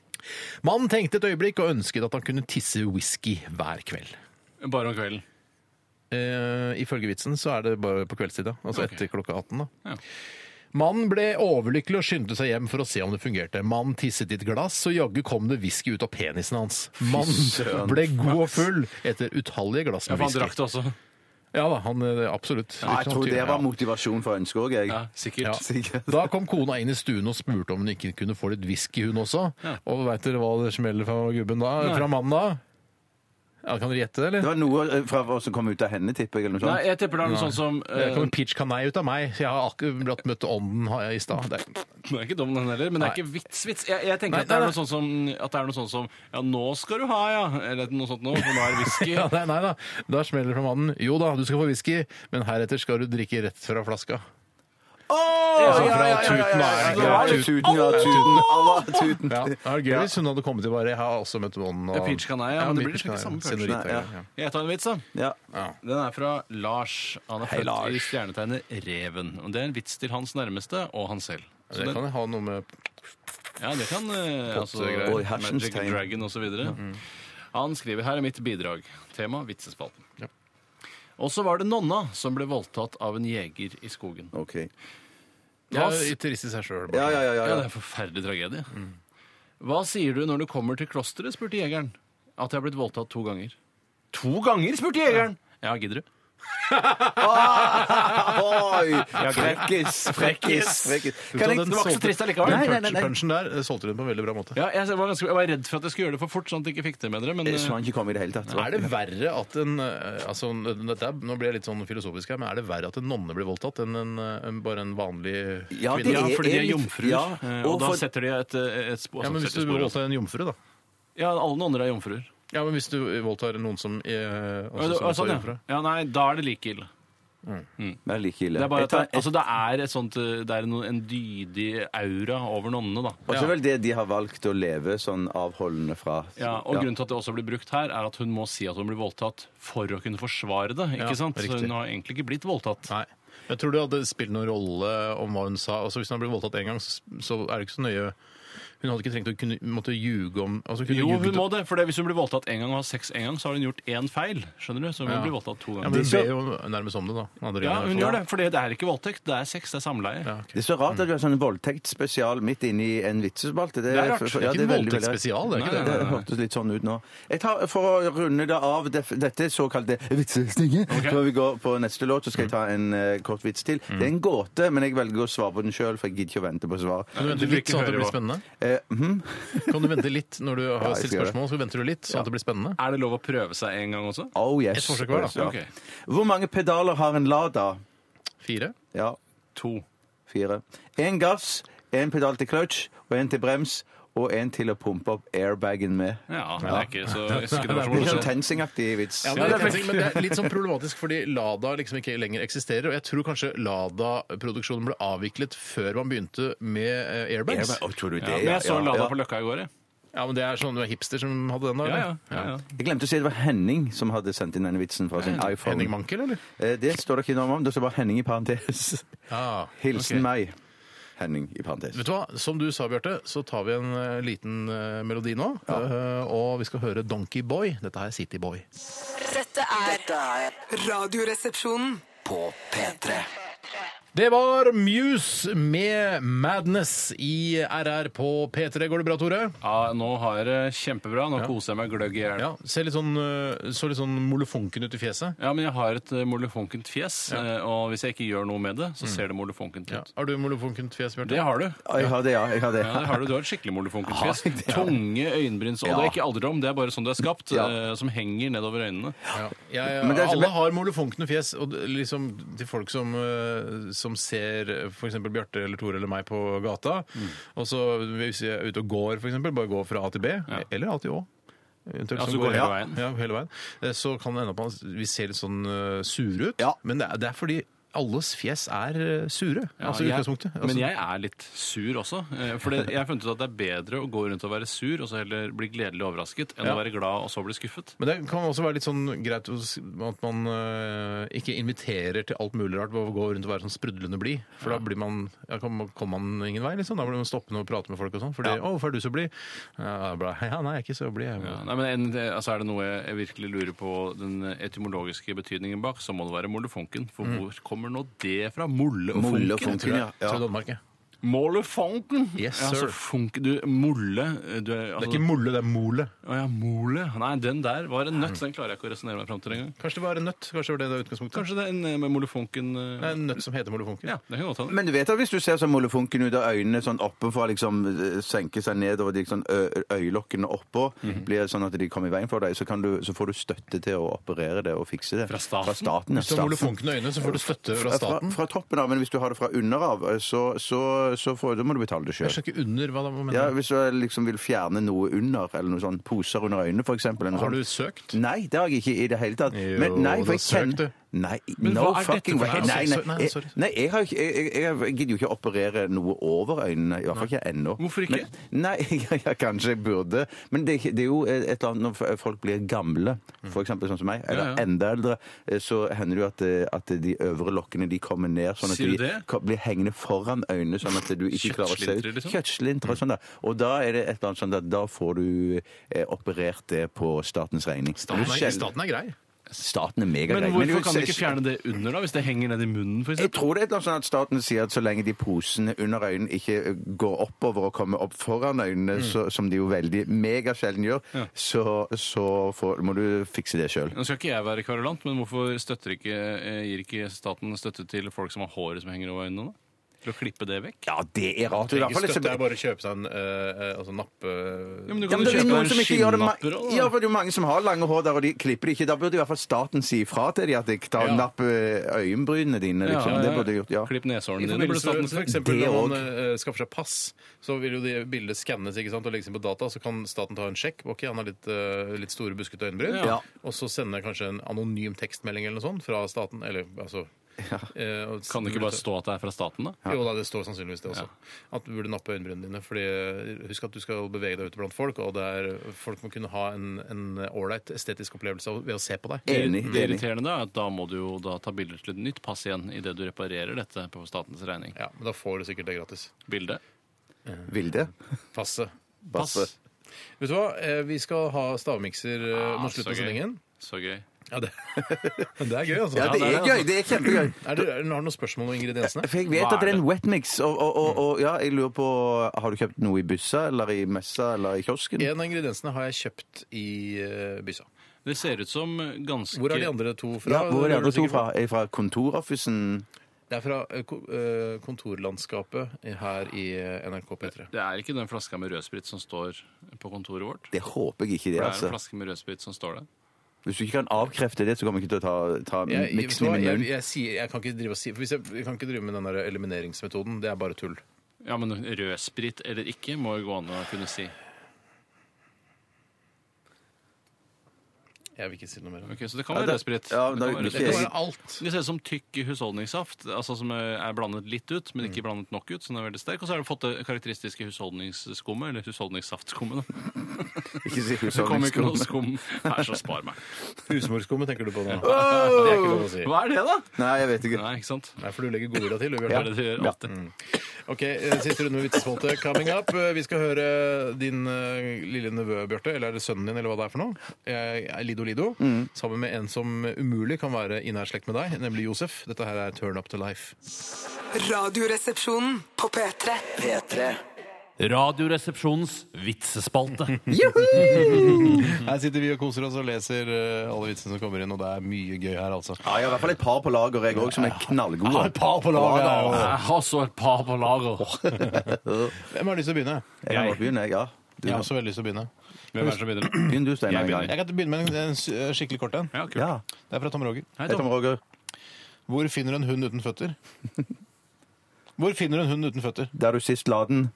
S3: Mannen tenkte et øyeblikk og ønsket at han kunne tisse whisky hver kveld.
S5: Bare om kvelden.
S3: Eh, ifølge vitsen så er det bare på kveldstida, altså
S5: Ok.
S3: etter klokka 18. da.
S5: Ja.
S3: Mannen ble overlykkelig og skyndte seg hjem for å se om det fungerte. Mannen tisset i et glass, og jaggu kom det whisky ut av penisen hans. Mannen ble god og full etter utallige glass
S5: Ja,
S3: med
S5: for han drakk
S3: whisky.
S5: det også.
S3: Ja da, han eh, absolutt.
S4: Ja, jeg tror det var
S3: Ja.
S4: motivasjon for ønsket òg, jeg.
S5: Ja, sikkert.
S3: Ja.
S4: Sikkert.
S3: Da kom kona inn i stuen og spurte om hun ikke kunne få litt whisky, hun også. Og veit dere hva det smeller fra gubben da? Fra mannen da? Ja, kan dere gjette det, eller?
S4: Det var noe eh, fra hva som kom ut av henne, tipper jeg. eller noe
S5: Nei,
S4: sånt.
S5: jeg tipper det er noe sånn som eh,
S3: Det kommer
S5: [LAUGHS]
S3: pitch kanei ut av meg. Jeg har akkurat møtt ånden her i stad. Det er-
S5: Den er ikke dum, den heller, men det er ikke vits-vits. Jeg, jeg
S3: Nei,
S5: tenker at, det
S3: nei, nei.
S5: er noe sånn som, at det er noe sånn som Ja, nå skal du ha, ja. Eller noe sånt nå, for nå er det whisky.
S3: [LAUGHS] Ja, nei, nei da. Da smeller det fra mannen. Jo da, du skal få whisky, men heretter skal du drikke rett fra flaska.
S4: Åh,
S3: Altså,
S4: ja,
S3: fra
S4: ja, ja, ja,
S3: tuten,
S4: ja,
S3: nei,
S4: ja,
S3: fra
S4: det var det
S3: tuten.
S4: tuten, ja, tuten. Alla, tuten.
S3: Ja, det er gøy hvis hun hadde kommet til bare Jeg har også møtt ånden. og-
S5: Det er pitch kanei, ja, men det blir
S3: pitch
S5: liksom ikke
S3: kanei,
S5: samme følelsen.
S3: senorita,
S4: Nei, ja.
S3: ja.
S5: Jeg tar en vits, da.
S4: Ja.
S5: Den er fra Lars. Han er født
S4: Lars.
S5: i stjernetegnet Reven. Og Det er en vits til hans nærmeste og han selv. Så
S3: Det
S5: den-
S3: kan jo ha noe med
S5: Ja, det kan eh, altså,
S3: Pottegreier.
S4: Oi, hersens
S5: Magic
S4: tegn. Mm.
S5: Dragon osv. videre Han skriver her er mitt bidrag. Tema vitsespalten.
S3: Ja.
S5: Og så var det nonna som ble voldtatt av en jeger i skogen.
S4: Ok.
S3: Ja,
S5: Hva s-
S3: i trist i seg sjøl.
S4: Ja, ja, Mm. ja, ja,
S5: Ja, det
S4: ja.
S5: er en forferdelig tragedie. Hva sier du når du kommer til klosteret, spurte jegeren. At jeg har blitt voldtatt to ganger. To ganger, spurte jegeren! Ja, gidder du?
S4: Oi! Frekkis, frekkis, frekkis. Kan jeg
S5: Det var ikke så trist allikevel.
S3: Den
S4: Nei, nei, nei,
S3: punch-
S4: nei.
S3: punchen der eh, solgte hun på en veldig bra måte.
S5: Ja, jeg var, ganske, jeg var redd for at jeg skulle gjøre det for fort, sånn at jeg ikke fikk det med dere. Men,
S4: Jeg så han ikke komme i det hele tatt.
S3: Er det verre at en eh, altså, dette, er- Nå ble jeg litt sånn filosofisk her, men er det verre at en nonne blir voldtatt enn en, eh, en, bare en vanlig
S4: Ja, det
S3: kvinne?
S5: ja,
S4: er-
S5: fordi de er
S4: litt-
S5: jomfruer,
S4: ja,
S5: eh,
S4: og
S5: og, da
S4: for-
S5: setter de et, eh, et spor.
S3: Ja, men hvis du voldtar en jomfru, da?
S5: ja, alle nonner er jomfruer.
S3: Ja, men hvis du voldtar noen som eh,
S5: Ja,
S3: også,
S5: det-
S3: som
S5: ja, sånn,
S3: også er
S5: ja.
S3: jomfru?
S5: ja, nei, da er det like ille.
S4: Det er like ille.
S5: Det er bare
S4: Jeg
S5: at
S4: tar-
S5: det, altså, det er et sånt eh, Det er en, en dydig aura over nonnene, da.
S4: Og så vel det de har valgt å leve sånn avholdende fra.
S5: Ja, og Grunnen til at det også blir brukt her, er at hun må si at hun blir voldtatt for å kunne forsvare det. ikke
S3: Ja,
S5: sant? Så
S3: riktig.
S5: hun har egentlig ikke blitt voldtatt.
S3: Nei. Jeg tror det hadde spilt noen rolle om hva hun sa. Altså, hvis hun hadde blitt voldtatt én gang, så så er det ikke så nøye Hun hadde ikke trengt å kunne, måtte ljuge om altså, kunne
S5: Jo,
S3: ljuget
S5: hun må det, for det- hvis hun blir voldtatt én gang og har sex én gang, så har hun gjort én feil. skjønner du? Så hun
S3: Ja.
S5: blir voldtatt to
S3: Ja, men hun
S5: ganger.
S3: ber jo nærmest om det, da. Andre
S5: Ja,
S3: gangen,
S5: hun
S3: i hvert
S5: gjør
S3: fall.
S5: det, for det er ikke voldtekt, det er sex, det er samleie.
S3: Ja,
S4: Det er så rart at vi har sånn voldtektsspesial midt inne i en vitsespalte.
S5: Det er rart.
S3: Det er ikke en voldtektsspesial, det er
S5: Nei,
S3: ikke det.
S5: nei, nei.
S4: Det hørtes litt sånn ut nå. Jeg tar, for å runde det av det, dette såkalte vitsestinget, før vi går på neste låt, så skal jeg ta en eh, kort vits til. Det er en gåte, men jeg velger å svare på den sjøl, for jeg gidder ikke å vente på svar.
S3: Kan du vente
S5: Du vil
S3: litt
S5: ikke
S3: sånn at
S5: høre
S3: det blir
S5: hva-
S3: spennende?
S4: Eh,
S5: hm?
S4: mhm.
S3: Kan du vente litt når du har
S4: jeg
S3: stilt
S4: skal gjøre det.
S3: spørsmål? Så venter du litt sånn at det blir spennende?
S5: Er det lov å prøve seg en gang også?
S4: Oh yes.
S3: Et forsøk hver, da.
S4: Ja.
S5: Ok.
S4: Hvor mange pedaler har en Lada?
S3: Fire?
S4: Ja,
S5: To.
S4: fire. En gass, en pedal til clutch, og en til brems, og en til å pumpe opp airbagen med.
S5: Ja, det er ikke så jeg husker det var
S4: Det
S5: så
S4: blir sånn
S5: morsomt.
S4: TenSing-aktig vits.
S3: Ja, det er litt, men det er litt sånn problematisk fordi Lada liksom ikke lenger eksisterer. Og jeg tror kanskje Lada-produksjonen ble avviklet før man begynte med eh, airbags.
S4: Airbag, å, tror du det?
S5: Ja, men jeg så
S4: Ja,
S5: Lada
S4: ja.
S5: på Løkka i går, jeg.
S3: Ja, men Det er sånn det var hipster som hadde den da?
S5: Ja, ja,
S3: eller?
S5: ja, ja.
S4: Jeg glemte å si det var Henning som hadde sendt inn denne vitsen fra sin iPhone.
S3: Henning Mankel, eller?
S4: Eh, Det står det ikke noe om. Det står bare Henning i parentes.
S3: Ja.
S4: Hilsen
S5: ok.
S4: meg. Henning i parentes.
S3: Ah, Vet du hva? Som du sa, Bjarte, så tar vi en eh, liten eh, melodi nå. Eh, og vi skal høre Donkey Boy. Dette her er City Boy.
S6: Radioresepsjonen.
S2: På P3.
S3: Det var Muse med 'Madness' i RR på P3. Går det bra, Tore?
S5: Ja, nå har jeg det kjempebra. Nå koser jeg meg gløgg i hjel.
S3: Ja, ser litt sånn, øh, så litt sånn molefonken ut i fjeset.
S5: Ja, men jeg har et eh, molefonkent fjes, eh, og hvis jeg ikke gjør noe med det, så ser det molefonkent ut.
S3: Mm. Ja. Har du molefonkent fjes, Bjarte?
S5: Det har du.
S4: Å, Jeg har det, ja. Jeg har det.
S5: Ja, det har du. Du har et skikkelig molefonkent
S3: [LAUGHS]
S5: fjes. Tunge øyenbryn. Og det er ikke alderdom, det er bare sånn du er skapt, eh, som henger nedover øynene.
S3: Ja. Jeg,
S4: Men det er-
S3: alle
S4: men-
S3: har molefonkne fjes, og det- liksom til folk som, eh, som ser f.eks. Bjarte eller Tore eller meg på gata.
S5: Mm.
S3: Og så hvis jeg er ute og går, for eksempel, bare gå fra A til B, eller A til Å. Eventuelt
S5: Ja,
S3: som
S5: så går hele
S3: ja,
S5: veien.
S3: Ja, hele veien. Eh, Så kan det ende opp at vi ser litt sånn eh, sure ut,
S4: Ja.
S3: men det er, det er fordi alles fjes er eh, sure. altså i
S5: jeg,
S3: utgangspunktet. Altså,
S5: men jeg er litt sur også. eh, For det- jeg har funnet ut at det er bedre å gå rundt og være sur, og så heller bli gledelig overrasket, enn å være glad og så bli skuffet.
S3: Men det kan også være litt sånn greit å s- at man øh, ikke inviterer til alt mulig rart ved å gå rundt og være sånn sprudlende blid. For da blir man, ja, kan- kommer man ingen vei, liksom. Da blir man stoppende og prater med folk og sånn. Fordi 'Å, hvorfor er du så blid?' Ja, da blir jeg, [LAUGHS] ja, nei, jeg er ikke så blid. jeg».
S5: Ja, nei, men en, det- altså Er det noe jeg, jeg virkelig lurer på den etymologiske betydningen bak, så må det være molefonken. For hvor kommer nå det fra? Molle og
S4: Molle og
S5: funken?
S4: funken, ja.
S3: Til Danmark, ja.
S5: Molefonken!
S3: Yes,
S5: ja,
S3: sir.
S5: altså, funk, du, molle du, er-
S3: Det
S5: altså,
S3: er ikke molle, det er mole.
S5: Å ja, mole. Nei, den der var en nøtt. Den klarer jeg ikke å resonnere meg fram til engang.
S3: Kanskje det var en nøtt? Kanskje det var det det var utgangspunktet?
S5: Kanskje det er en eh, med molefonken
S3: Det er
S5: eh,
S3: en nøtt som heter molefonken.
S5: Ja, det kan godt hende.
S4: [LAUGHS] Men du vet at hvis du ser sånn molefonken ut av øynene sånn oppenfor, liksom eh, senker seg nedover de sånn ø- øyelokkene oppå, blir det sånn at de kommer i veien for deg, så, kan du, så får du støtte til å operere det og fikse det.
S5: Fra staten?
S4: Fra staten, ja.
S3: Hvis du har molefonkne øyne, så får du støtte fra
S4: Fra,
S3: staten.
S4: fra toppen av, men hvis du har det fra under av, eh, så, så, så får, da må du betale det
S3: Jeg
S4: sjøl.
S3: skjønner ikke under hva da, hva
S4: Ja,
S3: mener du?
S4: hvis du liksom vil fjerne noe under, eller noe sånn poser under øynene, for eksempel. eller noe sånn
S3: Har du
S4: sånt.
S3: søkt?
S4: Nei, det har jeg ikke i det hele tatt.
S3: Jo,
S4: Men nei, for
S3: da
S4: jeg kjenner
S3: søk du.
S4: Nei,
S5: Men
S4: no
S5: hva er dette
S4: fucking
S5: for
S4: way.
S5: noe?
S4: Nei,
S3: Sorry,
S4: nei,
S3: nei, sorry.
S4: jeg, nei jeg, har, ikke- jeg, jeg, jeg gidder jo ikke å operere noe over øynene. I hvert fall ikke ennå.
S5: Hvorfor ikke?
S4: Men, nei, [LAUGHS] ja, ja, kanskje jeg burde. Men det, er ikke- det er jo et eller annet når folk blir gamle, for eksempel sånn som meg, eller
S5: Mm. Ja, ja.
S4: enda eldre, eh, så hender det jo at, eh, at de øvre lokkene de kommer ned, sånn at
S5: Sier du
S4: de
S5: det?
S4: ka- blir hengende foran øynene, sånn at du ikke klarer å se ut.
S5: Kjøttslinter, liksom?
S4: Kjøttslinter og sånn da. Og da er det et eller annet sånn at da får du eh, operert det på statens regning.
S3: Staten er,
S4: Du skjel-
S3: staten er grei.
S4: Staten er megagrei.
S5: Men
S4: du-
S5: hvorfor kan du ikke fjerne det under, da? Hvis det henger ned i munnen, for
S4: Jeg
S5: eksempel?
S4: tror det er et eller annet sånn at staten sier at så lenge de posene under øynene ikke eh, går oppover og kommer opp foran øynene, så, som de jo veldig megasjelden gjør, så, så får, må du fikse det sjøl.
S5: Nå skal ikke jeg være kverulant, men hvorfor støtter ikke, eh, gir ikke staten støtte til folk som har håret som henger over øynene? da? For å klippe det vekk?
S4: Ja, det er rart. I hvert fall
S3: Ikke støtte,
S4: disse-
S3: det er bare å kjøpe seg en øh, øh, altså nappe...
S5: Ja, men
S4: Ja,
S5: du
S4: men
S5: kan jo
S4: det er
S5: kjøpe
S4: noen
S5: en
S4: som ikke gjør det. Ma-
S5: skinnapper også, da.
S4: Ja, for det er jo mange som har lange hår der, og de klipper det ikke. Da burde i hvert fall staten si ifra til de at de tar
S3: Ja.
S4: napp eh, øyenbrynene dine,
S5: Ja,
S4: liksom.
S5: ja, ja.
S4: Det burde jeg gjort, ja.
S5: Klipp
S3: I
S5: neshårene dine.
S3: forbindelse
S5: burde staten
S3: med for
S5: si.
S3: eksempel
S4: Det
S3: når man eh, skaffer seg pass, så vil jo de bildet skannes ikke sant, og legges inn på data. Så kan staten ta en sjekk. Ok, han har litt, eh, litt store, buskete øyenbryn.
S5: Ja.
S3: Og så sende kanskje en anonym tekstmelding eller noe sånt fra staten. Eller altså eh, og-
S5: Kan det ikke bare stå at det er fra staten, da?
S3: Jo da, det står sannsynligvis det også. At du burde nappe øyenbrynene dine. fordi eh, husk at du skal bevege deg ute blant folk, og det er, folk må kunne ha en, en ålreit estetisk opplevelse av- ved å se på deg.
S4: Enig.
S5: Det
S4: enig.
S5: irriterende da er at da må du jo da ta bilder til et nytt pass igjen idet du reparerer dette på statens regning.
S3: Ja, men da får du sikkert det gratis.
S5: Bilde.
S4: Vilde?
S3: Passet.
S5: Pass.
S4: Basse.
S3: Vet du hva, Eh, vi skal ha stavmikser eh,
S5: Ah,
S3: mot slutten
S5: så
S3: av
S5: gøy.
S3: sendingen.
S5: Så gøy.
S3: Ja, det, [LAUGHS] det er gøy, altså.
S4: Ja, det
S5: det er
S4: er
S5: det,
S4: gøy. Det er
S5: [CLEARS THROAT]
S4: kjempegøy.
S3: Er det, er det, har du noen spørsmål om ingrediensene?
S4: For jeg vet
S5: Hva
S4: at det er
S5: er Mm.
S4: en wetmix, og, og, og, og ja, jeg lurer på Har du kjøpt noe i bussa, eller i messa, eller i kiosken?
S3: En av ingrediensene har jeg kjøpt i eh, byssa.
S5: Det ser ut som ganske
S3: Hvor er de andre to fra?
S4: Ja, hvor
S3: Det
S4: er det
S3: du
S4: andre to
S3: sikkert
S4: fra? Er det fra kontorofficen?
S3: Det er fra eh, ko- eh, kontorlandskapet her i eh, NRK P3.
S5: Det er ikke den flaska med rødsprit som står på kontoret vårt.
S4: Det håper jeg ikke, det.
S5: Det er en
S4: altså.
S5: flaske med rødsprit som står der.
S4: Hvis du ikke kan avkrefte det, så kommer jeg ikke til å ta, ta
S3: Jeg, vet du
S4: miksen i
S3: hva,
S4: min
S3: jeg,
S4: munn.
S3: jeg, sier, jeg kan ikke drive og si for hvis jeg, jeg kan ikke drive med den der elimineringsmetoden. Det er bare tull.
S5: Ja, men rødsprit eller ikke må jo gå an å kunne si.
S3: Jeg vil ikke si noe mer om det.
S5: Ok, Så det kan
S4: Ja,
S5: være
S4: det-
S5: rødsprit.
S4: ja, da-
S5: Det kan være
S4: ikke-
S3: Det
S5: rødsprit.
S3: kan være alt.
S5: Det ser ut som tykk husholdningssaft, altså som eh, er blandet litt ut, men ikke blandet nok ut. så den er veldig sterk. Og så har du fått det karakteristiske husholdningsskummet, eller husholdningssaftskummet. da.
S4: Ikke si
S5: Det kommer ikke noe
S4: husholdningsskum.
S5: skum. Vær så spar meg.
S3: Husmorskummet tenker du på nå. [LAUGHS] Det er ikke lov å si.
S5: Hva er det, da?
S4: Nei, jeg vet ikke.
S5: Nei, ikke sant?
S3: Nei, for du legger godvilja til. du,
S5: Det
S3: Bjarte.
S5: er det du gjør alltid.
S3: OK, Ok, eh, Siste runde med vitsespolte coming up. Eh, Vi skal høre din eh, lille nevø, Bjarte, eller er det sønnen din, eller hva det er for noe? Eh, Lido Lido. Sammen med en som umulig kan være i nær slekt med deg, nemlig Josef. Dette her er Turn Up To Life.
S6: Radioresepsjonen på P3.
S2: P3.
S7: Radioresepsjonens vitsespalte.
S3: [LAUGHS] Her sitter vi og koser oss og leser eh, alle vitsene som kommer inn, og det er mye gøy her, altså.
S4: Ja, jeg har i hvert fall et par på lager, jeg òg, som er knallgode.
S3: Ja, et par på lager,
S4: Ja, da.
S3: ja.
S5: Jeg har så et par på lager.
S3: Hvem har lyst til å begynne?
S4: Jeg kan godt begynne, jeg, ja. Du,
S3: Jeg har også veldig lyst til å begynne.
S5: Hvem er det som begynner?
S4: Begynn du, Steinar,
S5: Jeg
S4: en
S5: begynner.
S4: gang.
S3: Jeg kan begynne med en, en s- eh, skikkelig kort en.
S5: Ja, kult.
S4: Ja.
S3: Det er fra Tom Roger.
S5: Hei,
S4: Hei, Tom
S5: Tom.
S4: Roger.
S3: Hvor finner en hund uten [LAUGHS] føtter? Hvor finner en hund uten føtter?
S4: Der du sist la den.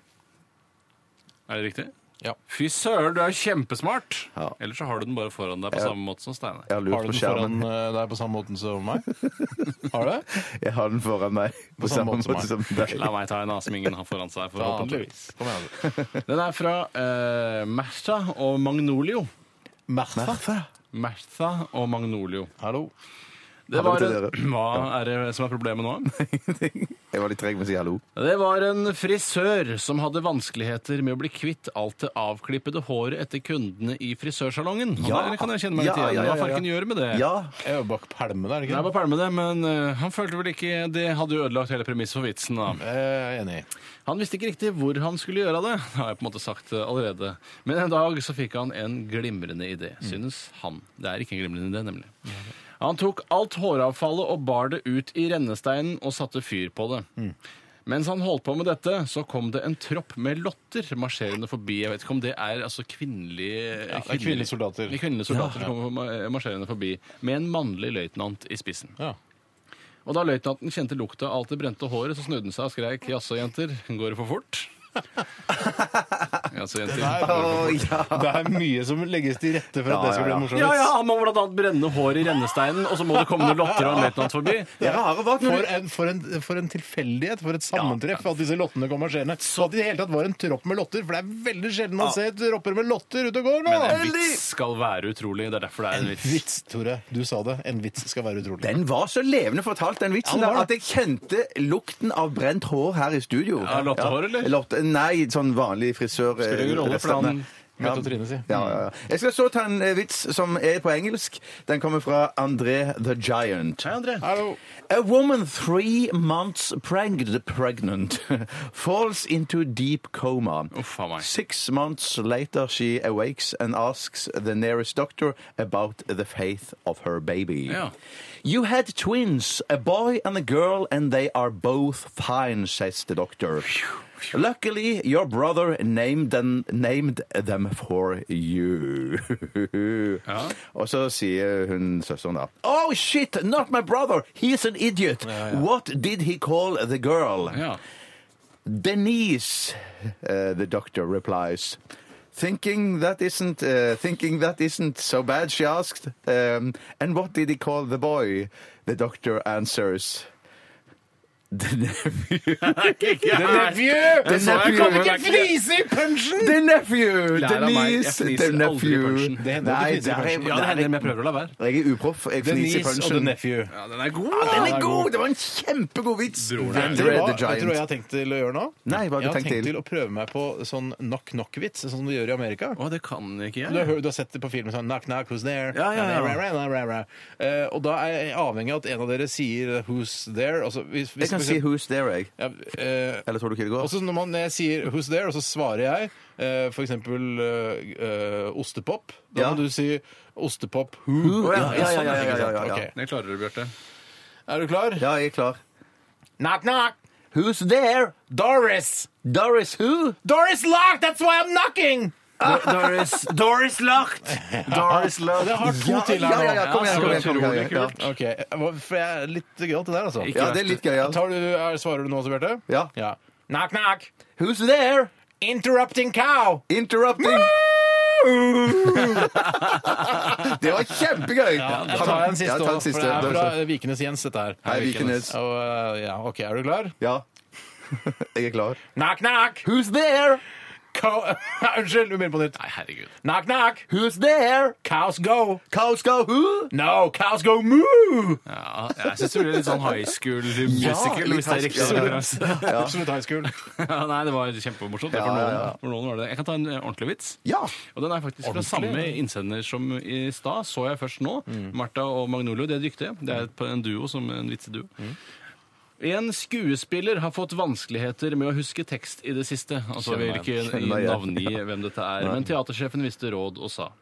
S5: Er det riktig?
S3: Ja.
S5: Fy søren, du er kjempesmart!
S4: Ja.
S5: Ellers så har du den bare foran deg på samme måte som Steinar.
S4: Jeg har
S3: Har
S4: lurt
S3: du
S4: på
S3: den foran
S4: skjermen.
S3: eh, deg på samme måten som meg? Har du det?
S4: Jeg har den foran meg. På samme måte som deg.
S5: La meg ta en annen som ingen har foran seg, forhåpentligvis.
S3: Kom igjen. altså.
S5: Den er fra eh, Martha og Magnolio.
S3: Martha.
S5: Martha og Magnolio.
S3: Hallo.
S5: Det
S4: Hallo
S5: var
S4: til
S5: en,
S4: dere.
S5: hva er det som er problemet nå?
S4: Jeg var litt treg med å si hallo.
S5: Det var en frisør som hadde vanskeligheter med å bli kvitt alt det avklippede håret etter kundene i frisørsalongen. Ja.
S4: Ja.
S5: Det kan jeg kjenne meg litt
S4: Ja,
S5: igjen i.
S4: ja, ja,
S5: Hva
S4: ja.
S5: farken gjør med det?
S4: Ja.
S3: Jeg er jo bak pælmene, er det
S5: Jeg
S3: ikke?
S5: var pæl med det, men eh, han følte vel ikke Det hadde jo ødelagt hele premisset for vitsen, da.
S3: Eh, Jeg er enig.
S5: Han visste ikke riktig hvor han skulle gjøre av det, [LAUGHS] har jeg på en måte sagt eh, allerede. Men en dag så fikk han en glimrende idé,
S3: Mm.
S5: synes han. Det er ikke en glimrende idé, nemlig. Han tok alt håravfallet og bar det ut i rennesteinen og satte fyr på det.
S3: Mm.
S5: Mens han holdt på med dette, så kom det en tropp med lotter marsjerende forbi. Jeg vet ikke om det er altså kvinnelige
S3: det er kvinnelige soldater.
S5: Kvinnelige soldater som kommer marsjerende forbi med en mannlig løytnant i spissen.
S3: Ja.
S5: Og da løytnanten kjente lukta av alt det brente håret, så snudde han seg og skreik 'jaså, jenter, går det for fort'? [LAUGHS] Jaså, jenter.
S4: Å, ja.
S3: Det er mye som legges til rette for at
S4: [LAUGHS] Ja,
S3: det skal
S4: ja,
S3: bli
S4: ja.
S3: en morsom
S5: Ja, ja,
S3: vits.
S5: han må blant annet brenne håret i rennesteinen, og så må det komme noen lotter og en løytnant forbi.
S4: Det rare var at når
S3: For en, for, en, for en tilfeldighet, for et sammentreff, at disse lottene kom marsjerende. Og at det i det hele tatt var en tropp med lotter, for det er veldig sjelden man ser tropper med lotter ute og går nå!
S5: Men en vits skal være utrolig. Det er derfor det er en vits.
S3: Vits, Tore. Du sa det. En vits skal være utrolig.
S4: Den var så levende fortalt, den vitsen,
S3: Ja, den
S4: der,
S3: var
S4: at jeg kjente lukten av brent hår her i studio.
S5: Ja, lottehår, eller?
S4: Lotte, nei, sånn vanlig frisør.
S5: Spiller ingen rolle, for han
S3: vet hva Trine sier.
S4: Ja, ja, ja. Jeg skal så ta en eh, vits som er på engelsk. Den kommer fra André the Giant.
S5: Hei, André.
S3: Hallo.
S4: A woman three months preg- pregnant [LAUGHS] falls into deep coma.
S5: Uff a meg.
S4: Six months later, she awakes and asks the nearest doctor about the faith of her baby.
S5: Yeah.
S4: You had twins, a boy and a girl, and they are both fine, says the doctor. Luckily, your brother named them, named them for you. Og så sier hun søsteren da Oh shit, not my brother, he's an idiot. What did he call the girl?
S5: Ja.
S4: Denise, uh, the doctor replies. Thinking that isn't uh, thinking that isn't so bad, she asked. Um, and what did he call the boy? The doctor answers. The nephew.
S5: Den så jeg komme. Det er ikke-
S3: i punsjen!
S4: The nephew!
S5: Lær av meg, jeg
S4: Denise!
S5: fniser
S4: The
S5: aldri i
S4: nephew.
S5: punchen. Det
S3: hender at du fniser i
S4: der er-
S3: punchen.
S5: Ja, det hender,
S4: der
S5: men jeg prøver å la være.
S4: er- Jeg er uproff. Jeg fniser i
S3: Denise og The
S4: punchen.
S3: Nephew.
S5: Ja, den er god!
S4: Ja,
S5: da.
S4: den er god! Det var en kjempegod vits!
S3: Vet dere
S4: Andre
S3: hva
S4: the
S3: vet dere hva jeg
S4: Giant.
S3: har tenkt til å gjøre nå?
S4: Nei, hva har du
S3: jeg har
S4: tenkt
S3: tenkt til?
S4: til?
S3: å prøve meg på sånn knock-knock-vits, sånn som de gjør i Amerika.
S5: Å, det kan
S3: Du
S5: ikke
S3: har,
S5: jeg.
S3: hørt- du har sett det på filmen sånn Knock, knock, who's there?
S5: Ja, ja, ja.
S3: Ra, ra, ra, ra, ra. Eh, og da er jeg avhengig av at en av dere sier who's there. Altså, hvis, hvis
S4: Jeg kan si Who's There, jeg.
S3: ja, eh,
S4: Eller tror du ikke det går?
S3: Også når, man, når jeg sier 'Who's there?', og så svarer jeg eh, for eksempel eh, eh, ostepop. Da
S4: Ja.
S3: må du si 'ostepop who'.
S4: Who? Ja, ja, ja, ja, ja,
S3: Ikke sant?
S4: ja, ja, ja.
S3: Ok.
S5: Det klarer du, Bjarte.
S3: Er du klar?
S4: Ja, jeg er klar.
S3: Knock, knock!
S4: Who's there?
S3: Doris!
S4: Doris who?
S3: Doris Lock! That's why I'm knocking!
S5: Doris,
S3: [LAUGHS]
S5: Doris Lacht! Doris Lacht.
S3: Jeg har to
S4: Ja,
S3: til
S4: ja,
S3: her
S4: ja, ja, kom
S3: nå.
S4: igjen,
S5: så
S4: kom igjen, kom
S5: utrolig
S4: igjen. Ja.
S5: kult.
S3: Ok, eh, hva- for jeg er litt gøyalt det der, altså.
S5: Ikke
S4: ja, det er litt gøyalt.
S3: Tar du, er, svarer du nå også, Bjarte?
S4: Ja.
S3: Knock, knock!
S4: Who's there?
S3: Interrupting cow!
S4: Interrupting. det var kjempegøy!
S3: Ja, da tar jeg en siste,
S4: Ja, ta
S3: også,
S4: den siste.
S3: for det er
S4: Da-
S3: fra Vikenes Jens, dette her.
S4: Hei, Vikenes.
S3: Og, eh, ja, ok, er du klar?
S4: Ja. [LAUGHS] Jeg er klar.
S3: Knock, knock!
S4: Who's there?
S3: Cow... [LAUGHS] Unnskyld, vi begynner på nytt.
S5: Nei, herregud.
S3: Knock, knock.
S4: Who's there?
S3: Cows go.
S4: Cows go who?
S3: No, cows go moo!
S5: Ja, jeg syns det blir litt sånn high school musical,
S4: litt
S5: hvis det er
S4: high
S5: riktig
S3: [LAUGHS]
S4: school, ja.
S5: referanse.
S3: Absolutt high school.
S5: [LAUGHS] Ja, nei, det var kjempemorsomt. Det er for, noen, for noen var det. Jeg kan ta en eh, ordentlig vits.
S4: Ja.
S5: Og den er faktisk
S3: Ordentlig?
S5: fra samme innsender som i stad, så jeg først nå. Martha og Magnolio, de er dyktige. Det er et- en duo som en vitseduo. En skuespiller har fått vanskeligheter med å huske tekst i det siste. Altså, vi vil ikke
S4: Kjenner meg igjen.
S5: navngi hvem dette er, men teatersjefen visste råd og sa.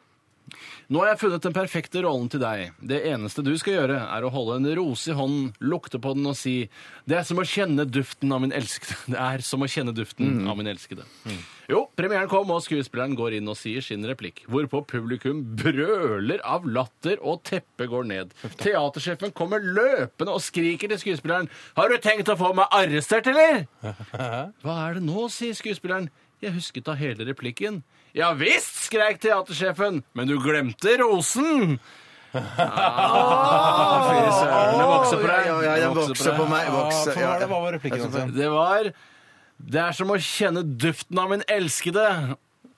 S5: Nå har jeg funnet den perfekte rollen til deg. Det eneste du skal gjøre, er å holde en rose i hånden, lukte på den og si Det er som å kjenne duften av min elskede. [LAUGHS] Det er som å kjenne duften av min elskede. Jo, premieren kom, og skuespilleren går inn og sier sin replikk. Hvorpå publikum brøler av latter, og teppet går ned. Teatersjefen kommer løpende og skriker til skuespilleren Har du tenkt å få meg arrestert, eller? Hva er det nå, sier skuespilleren. Jeg husket da hele replikken. Ja visst, skrek teatersjefen, men du glemte rosen! Ah, Fy søren, det vokser på deg.
S4: Ja, ja,
S5: Det
S4: den vokser på meg.
S3: Ja,
S4: Vokser,
S3: for
S4: ja,
S3: hva er det- hva var replikken hans igjen?
S5: Det var Det er som å kjenne duften av min elskede.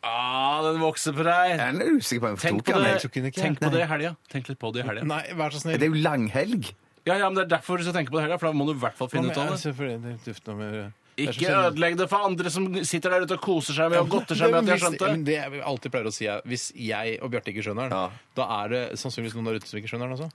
S5: Ah, den vokser på deg.
S4: Jeg er usikker på om jeg
S5: Tenk
S4: tok
S5: på
S4: den.
S5: det,
S4: jeg.
S3: tok den ikke,
S5: tenk på
S4: nei.
S5: det i helga. Tenk litt på det i helga.
S3: Nei, vær så snill.
S4: Det er jo langhelg.
S5: Ja, ja, men det er derfor du skal tenke på det i helga, for da må du i hvert fall finne ut av det. Ikke ødelegg det for andre som sitter der ute og koser seg med og godter seg med at de har skjønt det.
S3: Men det jeg alltid pleier å si er hvis jeg og Bjarte ikke skjønner den,
S4: Ja.
S3: da er det sannsynligvis noen der ute som ikke skjønner den også.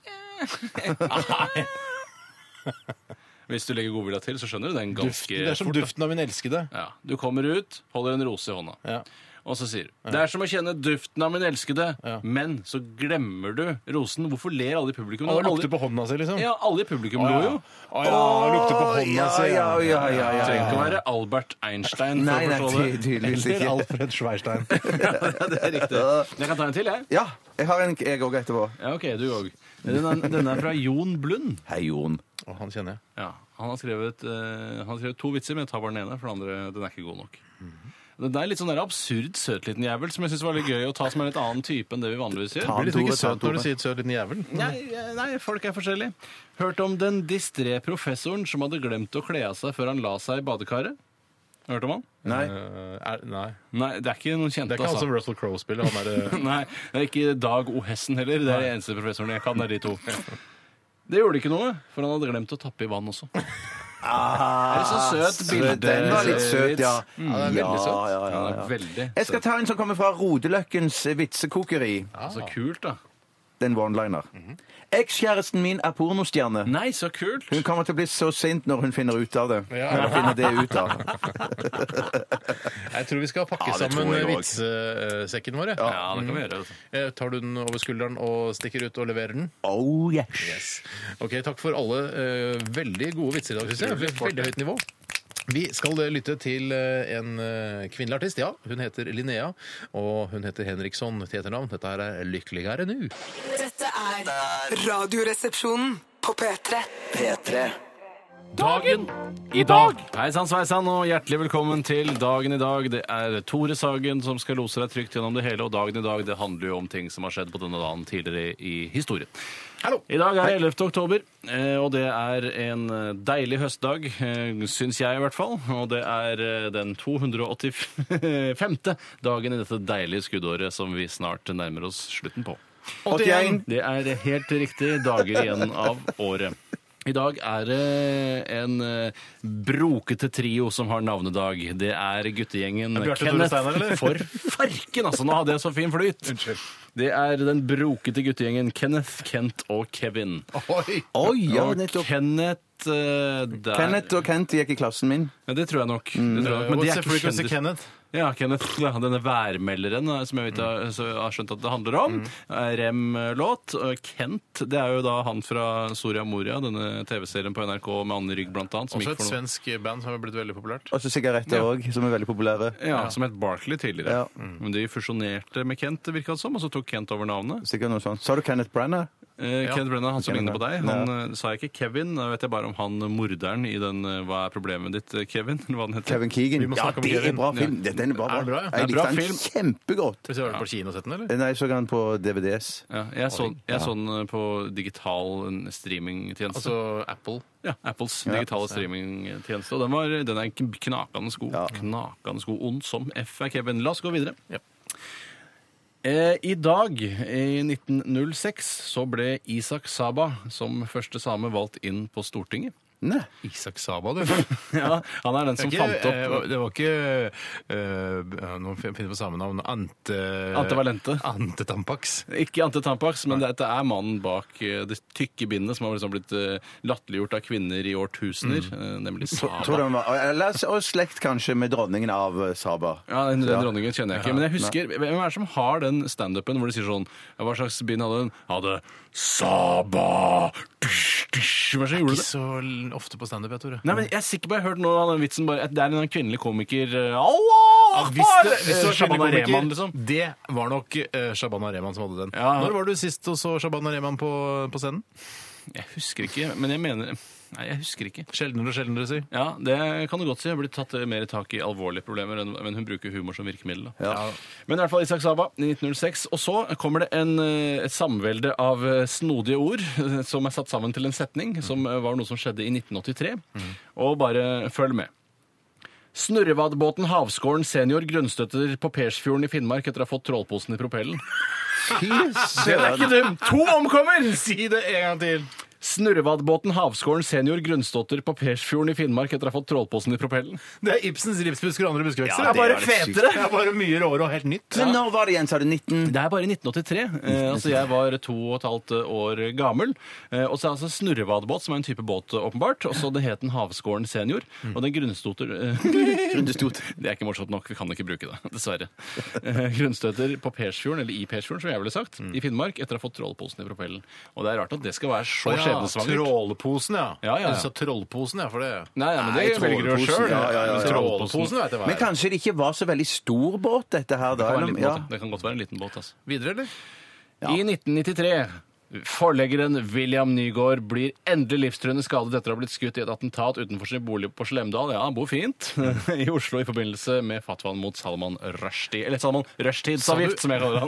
S5: Hvis du legger godvilja til, så skjønner du den
S3: Duften, det
S5: ganske
S3: er som
S5: fort. da.
S3: duften av min elskede.
S5: Ja, du kommer ut, holder en rose i hånda.
S3: Ja.
S5: Og så sier du Det er som å kjenne duften av min elskede,
S3: Ja.
S5: men så glemmer du rosen. Hvorfor ler alle i publikum?
S3: Alle
S5: Alle-
S3: lukter på hånda si, liksom.
S5: Ja, alle i publikum
S3: Å,
S5: lo
S3: ja.
S5: jo.
S3: Å, ja, lukter på hånda si.
S4: ja, ja, ja,
S5: Det
S4: ja,
S5: trenger ikke å
S4: ja.
S5: være Albert Einstein
S4: Nei,
S5: for
S4: nei,
S5: å forstå [LAUGHS] det.
S4: tydeligvis
S3: Eller
S4: ikke.
S3: Alfred Schweirstein.
S5: det er riktig. Jeg kan ta en til, jeg.
S4: Ja, jeg har en jeg òg etterpå.
S5: Ja, ok, du òg. Denne, denne er fra Jon Blund.
S4: Hei, Jon.
S3: Å, han kjenner jeg.
S5: Ja, han har, skrevet, eh, han har skrevet to vitser, men jeg tar bare den ene, for den andre den er ikke god nok. Det er litt sånn der absurd søt liten jævel, som jeg syns var litt gøy å ta som en litt annen type enn det vi vanligvis gjør.
S4: Ta
S3: Blir liksom
S4: Tore,
S3: ikke
S4: ta
S3: søt når
S4: Tore.
S3: du sier søt liten jævel.
S5: Nei, eh, nei, folk er forskjellige. Hørt om den distré professoren som hadde glemt å kle av seg før han la seg i badekaret? Hørt om han?
S4: Nei.
S3: Eh, er, nei.
S5: Nei, det er ikke noen kjente,
S3: Det er
S5: altså.
S3: ikke han som Russell Crowe spiller. Han er, [LAUGHS] eh,
S5: [LAUGHS] Nei, det er ikke Dag O. Hessen heller. Det er de eneste professorene jeg kan. Det er de to. Det gjorde ikke noe, for han hadde glemt å tappe i vann [LAUGHS] også. er så Ah, søt bilde.
S4: Den var litt søt, ja.
S5: Mm, den er veldig søt.
S4: Ja, ja, ja,
S5: Den
S4: ja.
S5: er veldig
S4: Jeg skal
S5: søt.
S4: ta en som kommer fra Rodeløkkens eh, vitsekokeri.
S5: Så kult, da.
S4: Den one-liner. Ekskjæresten min er pornostjerne.
S5: Nei, så kult!
S4: Hun kommer til å bli så sint når hun finner ut av det.
S3: Ja.
S4: Når hun finner det ut av.
S3: jeg tror vi skal pakke
S4: Ja, det tror
S3: sammen
S4: jeg også.
S3: vitsesekken vår. jeg.
S5: Ja, det kan vi gjøre. Altså.
S3: Eh, Tar du den over skulderen og stikker ut og leverer den?
S4: Oh yes.
S3: Ok, Takk for alle eh, veldig gode vitser i dag, syns jeg. Veldig høyt nivå. Vi skal eh, lytte til eh, en eh, kvinnelig artist. Ja, hun heter Linnea. Og hun heter Henriksson til etternavn. Dette her er 'Lykkeligere nu'.
S6: Dette er Radioresepsjonen på P3.
S2: P3
S5: Dagen i dag! Hei sann, sveisann, og hjertelig velkommen til Dagen i dag. Det er Tore Sagen som skal lose deg trygt gjennom det hele, og dagen i dag det handler jo om ting som har skjedd på denne dagen tidligere i historien.
S3: Hallo.
S5: I dag er det 11. oktober, eh, og det er en eh, deilig høstdag, eh, syns jeg i hvert fall. Og det er eh, den 285. [LAUGHS] dagen i dette deilige skuddåret som vi snart nærmer oss slutten på.
S4: 81.
S5: Det er helt riktig dager igjen av året. I dag er det en eh, brokete trio som har navnedag. Det er guttegjengen
S3: Bjarte, Tore,
S5: Kenneth
S3: Steinar, eller?
S5: For farken, altså! Nå hadde jeg så fin flyt. Det er den brokete guttegjengen Kenneth, Kent og Kevin.
S3: Oi!
S4: Oi, ja,
S5: og
S4: nettopp.
S5: Kenneth eh, der.
S4: Kenneth og Kent gikk i klassen min.
S5: Ja, det tror jeg nok. Det tror jeg nok. Men
S3: What's
S5: de er
S3: the
S5: ikke
S3: frequency,
S5: kjendiser.
S3: Kenneth?
S5: Ja, Kenneth, ja, denne værmelderen eh, som jeg vet, har- så jeg har skjønt at det handler om. Eh, Rem-låt. Og Kent, det er jo da han fra Soria Moria, denne TV-serien på NRK med Anne Rygg blant annet. Som
S3: Også
S5: gikk
S3: et
S5: for noe.
S3: svensk band som har blitt veldig populært.
S4: Og så sigaretter òg, som er veldig populære.
S5: Ja, som het Barkley tidligere.
S4: Ja.
S5: Mm. Men de fusjonerte med Kent, virka det som, og så tok Kent over navnet.
S4: Sikkert noe sånt. Sa du Kenneth Branagh?
S5: Eh,
S3: Ja.
S5: Kenneth Brenna, han som
S4: Kenneth
S5: ligner på deg. Han eh, sa jeg ikke Kevin. Da vet jeg bare om han eh, morderen i den eh, Hva er problemet ditt, eh, Kevin? [LAUGHS] Eller hva den heter.
S4: Kevin Keegan.
S3: Vi må
S4: Ja,
S3: snakke om
S4: det er
S3: Kevin.
S4: bra film! Dette er bra.
S3: Er det bra?
S4: Jeg
S5: Det er bra
S4: likte den
S5: film.
S4: kjempegodt.
S3: Hvis jeg har vært på kino og sett den, eller?
S4: Nei, jeg så den på DVDs.
S5: Ja, jeg så, jeg så den eh, på digital eh, streamingtjeneste.
S3: Altså Apple.
S5: ja, Apples digitale streamingtjeneste. Og den, var, den er kn- knakende god. Knakende god. Ond som F er Kevin. La oss gå videre.
S3: Ja.
S5: Eh, I dag, i 1906, så ble Isak Saba som første same valgt inn på
S3: [LAUGHS]
S5: Stortinget.
S4: Nei.
S3: Isak Saba, [LAUGHS] du.
S5: Ja, han er den som
S3: Ikke,
S5: fant opp
S3: eh, det var ikke eh, Nå finner jeg på samme navn. Ante...
S5: Ante Valente.
S3: Ante Tampax.
S5: Ikke Ante Tampax, men dette er mannen bak eh, det tykke bindet som har liksom blitt eh, latterliggjort av kvinner i årtusener, eh, nemlig
S4: Tror
S5: Saba.
S4: den var, eller, og slekt kanskje med dronningen av eh, Saba.
S5: Ja, den, den dronningen kjenner jeg ikke, men jeg husker Hvem er det som har den standupen hvor de sier sånn ja, Hva slags bind hadde den? Hadde Saba! Dysj, dysj. Hva er det som gjorde
S3: Ikke
S5: det?
S3: så l- ofte på standup, jeg, Tore.
S5: Nei, men Jeg er sikker på jeg har hørt noe av den vitsen bare at det er en eller annen kvinnelig komiker eh, Allah!
S3: Ja, hvis det, hvis det
S5: Eh,
S3: var
S5: Shabana
S3: Shabana
S5: Rehman, liksom.
S3: Det var nok eh, Shabana Rehman som hadde den.
S5: Ja.
S3: Når var du sist og så Shabana Rehman på, på scenen?
S5: Jeg husker ikke, men jeg mener Nei, jeg husker ikke.
S3: Sjeldnere og sjeldnere, si.
S5: Ja, det kan du godt si. Hun blir tatt eh, mer tak i alvorlige problemer, enn- men hun bruker humor som virkemiddel. da. Men i hvert fall Isak Saba i 1906. Og så kommer det en, eh, et samvelde av eh, snodige ord eh, som er satt sammen til en setning, som eh, var noe som skjedde i 1983. Og bare følg med. Snurrevadbåten Havskåren senior grunnstøtter på Persfjorden i Finnmark etter å ha fått trålposen i propellen.
S4: Fy
S5: Det er
S4: søren!
S5: ikke dum! To omkommer!
S3: Si det en gang til!
S5: Snurrevadbåten Havskåren senior grunnstøtter på Persfjorden i Finnmark etter å ha fått trålposen i propellen.
S3: Det er Ibsens ripsbusker og andre buskevekster. det
S4: Ja, det
S3: er bare
S4: er det sykt.
S3: fetere! Det er bare mye råere og helt nytt.
S4: Men når var det igjen, sa du? 19?
S5: Det er bare i 1983. Eh, altså jeg var to og et halvt år gammel. Eh, og så er det altså snurrevadbåt, som er en type båt, eh, åpenbart. Og så det het den Havskåren senior. Og den grunnstoter eh, [LAUGHS] Det er ikke morsomt nok. Vi kan ikke bruke det, dessverre. Eh, grunnstøter på Persfjorden, eller i Persfjorden, som jeg ville sagt, i Finnmark, etter å ha fått trålposen i propellen. Og det er rart at det skal være så skjebnesvangert.
S3: Trålposen, ja.
S5: Ja, ja, ja.
S3: Du sa trollposen, ja, for det
S5: Nei, ja, men det velger du jo
S4: trålposen,
S5: sjøl.
S4: ja, ja, ja, ja.
S3: Trålposen vet jeg hva
S4: Men
S3: er.
S4: kanskje det ikke var så veldig stor båt, dette her? da? eller? Ja.
S5: Det kan godt være en liten båt, altså.
S3: Videre, eller?
S5: I 1993 Forleggeren William Nygaard blir endelig livstruende skadet etter å ha blitt skutt i et attentat utenfor sin bolig på Slemdal. Ja, han bor fint [LAUGHS] i Oslo i forbindelse med fatwaen mot Salman Rushdie. Eller Salman
S3: Sa du-
S5: Rushtidsavgift, som jeg kaller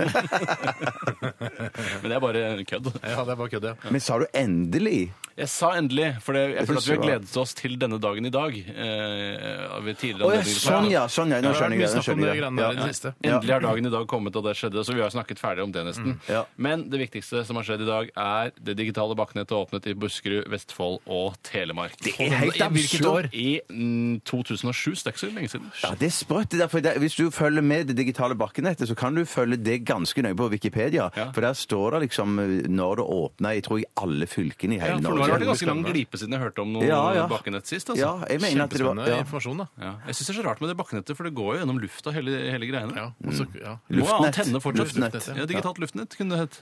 S5: han. Men det er bare kødd.
S3: Ja, det er bare kødd, ja.
S4: Men sa du endelig?
S5: Jeg sa endelig, for det, jeg føler at vi
S4: synes
S5: har
S4: det var-
S5: gledet oss til denne dagen i dag. Eh, ved tidligere
S4: Å ja,
S5: anledninger.
S4: sånn ja. sånn ja, Nå
S3: det har vært mye
S4: skjønner jeg. nå
S3: snakk om
S4: skjønner
S3: det
S4: jeg.
S3: greiene der i det siste.
S4: Ja. Mm.
S5: Endelig har dagen i dag kommet, og det skjedde, så vi har snakket ferdig om det nesten.
S4: Ja.
S5: Men det viktigste som har skjedd i dag, er det digitale bakkenettet åpnet i Buskerud, Vestfold og Telemark. Det
S4: er helt
S5: I hvilket
S4: absurd.
S5: år? I mm, 2007, så det er ikke så lenge siden.
S4: Ja, det er sprøtt. det der, for det- Hvis du følger med det digitale bakkenettet, så kan du følge det ganske nøye på Wikipedia.
S5: Ja.
S4: For der står det liksom eh, når det åpna i tror jeg, alle fylkene i hele
S5: Ja, for nå har det
S4: Norge.
S5: vært en ganske lang glipe siden jeg hørte om noe
S4: Ja, ja.
S5: bakkenett sist. Altså.
S4: Ja, jeg mener at det var
S3: Kjempespennende
S4: ja.
S3: informasjon, da.
S5: Ja. Jeg syns det er så rart med det bakkenettet, for det går jo gjennom lufta, hele, hele greiene.
S3: Ja, og
S4: Mm.
S3: så, ja.
S5: Må ha
S4: Luftnett.
S5: antenne fortsatt.
S4: Luftnett.
S5: Ja, digitalt luftnett kunne det hett.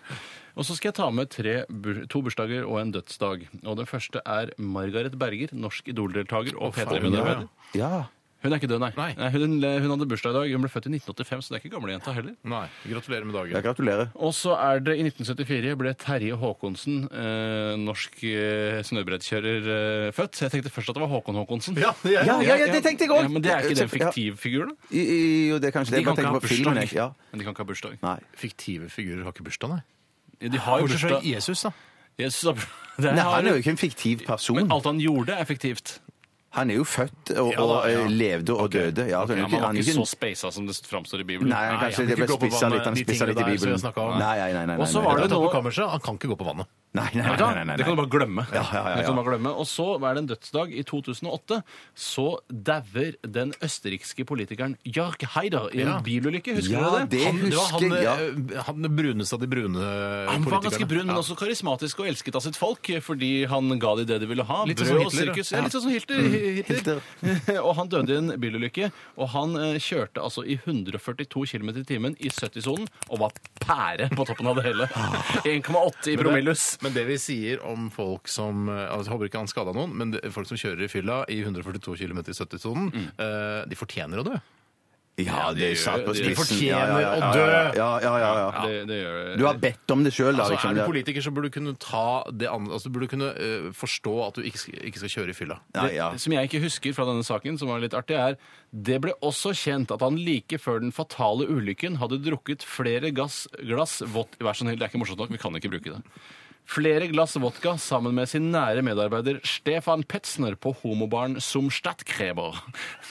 S5: Og så skal jeg ta med tre, bur- to bursdager og en dødsdag. Og den første er Margaret Berger, norsk Idol-deltaker og P3-medarbeider.
S4: ja.
S5: Hun er ikke død, nei.
S3: Nei.
S5: hun, hun hadde bursdag i dag. Hun ble født i 1985, så det er ikke gamlejenta heller.
S3: Nei. Gratulerer med
S4: Ja,
S3: dagen.
S4: gratulerer.
S5: Og så er det i 1974 ble Terje Håkonsen, eh, norsk eh, snøbrettkjører, eh, født. Så jeg tenkte først at det var Håkon Håkonsen.
S3: Ja, ja,
S4: ja, ja, det tenkte jeg også.
S5: Ja, men det er ikke den
S4: Ja.
S5: fiktiv figur, da.
S4: I, i, jo, det er kanskje det.
S5: De
S4: Jeg
S5: kan
S4: bare
S5: ikke ha
S4: tenker på filmen.
S5: bursdag.
S4: Jeg. Ja.
S5: Men de kan ikke ha bursdag.
S4: Nei.
S3: Fiktive figurer har ikke bursdag, nei.
S5: De har jo
S3: Bortsett fra
S5: bursdag.
S3: Jesus, da.
S5: Jesus har bursdag. [LAUGHS] Det er-
S4: Nei, han er jo ikke en fiktiv person.
S5: Men alt han gjorde, er effektivt.
S4: Han er jo født og,
S3: Ja, da,
S4: og
S3: ja.
S4: eh, levde og døde. Ja, så han er jo
S5: Ja,
S4: ikke- han er
S5: men han var ikke
S4: ikke
S5: så
S4: en-
S5: spesa som det framstår i Bibelen.
S4: Nei, han
S3: Nei,
S4: kanskje
S3: han kan
S4: det ble
S3: ikke gå på
S4: spissa
S3: vannet,
S4: litt. Han
S3: de
S4: spissa
S3: tingene
S4: litt i
S3: der som jeg
S4: Bibelen.
S3: snakket om.
S4: Nei, nei, nei. nei,
S5: Og så
S4: nei,
S5: var
S4: nei,
S5: det
S3: Tatt
S5: noe-
S3: på kammerset, han kan ikke gå på vannet.
S4: Nei, nei, nei,
S5: Vet
S4: nei,
S5: du hva?
S4: nei,
S5: Det kan
S4: nei.
S5: du bare
S4: Ja,
S5: glemme.
S4: ja, ja,
S5: Det kan du
S4: ja.
S5: bare glemme. Og så er det en dødsdag i 2008. Så dauer den østerrikske politikeren Jark Heider i en
S3: Ja.
S5: bilulykke. Husker
S4: Ja,
S5: dere det?
S4: det
S3: det var han,
S4: husker jeg. ja.
S3: eh, han bruneste av de brune politikerne.
S5: Han var ganske brun, men også karismatisk og elsket av sitt folk eh, fordi han ga de det de ville ha.
S3: Litt
S5: brød
S3: sånn som
S5: og
S3: Hitler,
S5: sirkus.
S3: ja. Mm.
S5: Ja. Litt sånn som Hitler. Hitler. [LAUGHS] og han døde i en bilulykke. Og han eh, kjørte altså i 142 km i timen i 70-sonen og var pære på toppen av det hele. [LAUGHS] 1,8 i promillus.
S3: Ah. Men det vi sier om folk som eh, altså, Jeg håper ikke han skada noen,
S4: Mm.
S3: men det, folk som kjører i fylla i 142 km i 70-sonen, eh, de fortjener å dø.
S4: Ja,
S5: de
S4: det er
S5: gjør-
S4: satt på
S5: de
S4: spissen.
S3: fortjener
S4: Ja, ja, ja,
S3: å
S4: ja,
S3: dø.
S4: Ja, ja, ja, ja.
S5: Det, det gjør
S4: Du har bedt om det sjøl, da.
S3: Altså,
S4: liksom.
S3: er du
S4: Det-
S3: politiker, så burde du kunne ta det an... altså, du burde kunne eh, forstå at du ikke skal, ikke skal kjøre i [LAUGHS] fylla.
S4: Nei, ja.
S5: Det som jeg ikke husker fra denne saken, som var litt artig, er det ble også kjent at han like før den fatale ulykken hadde drukket flere gass, glass vått... Vær så snill, det er ikke morsomt nok, vi kan ikke bruke det. Flere glass vodka sammen med sin nære medarbeider Stefan Petzner på homobaren Sumstadkreber.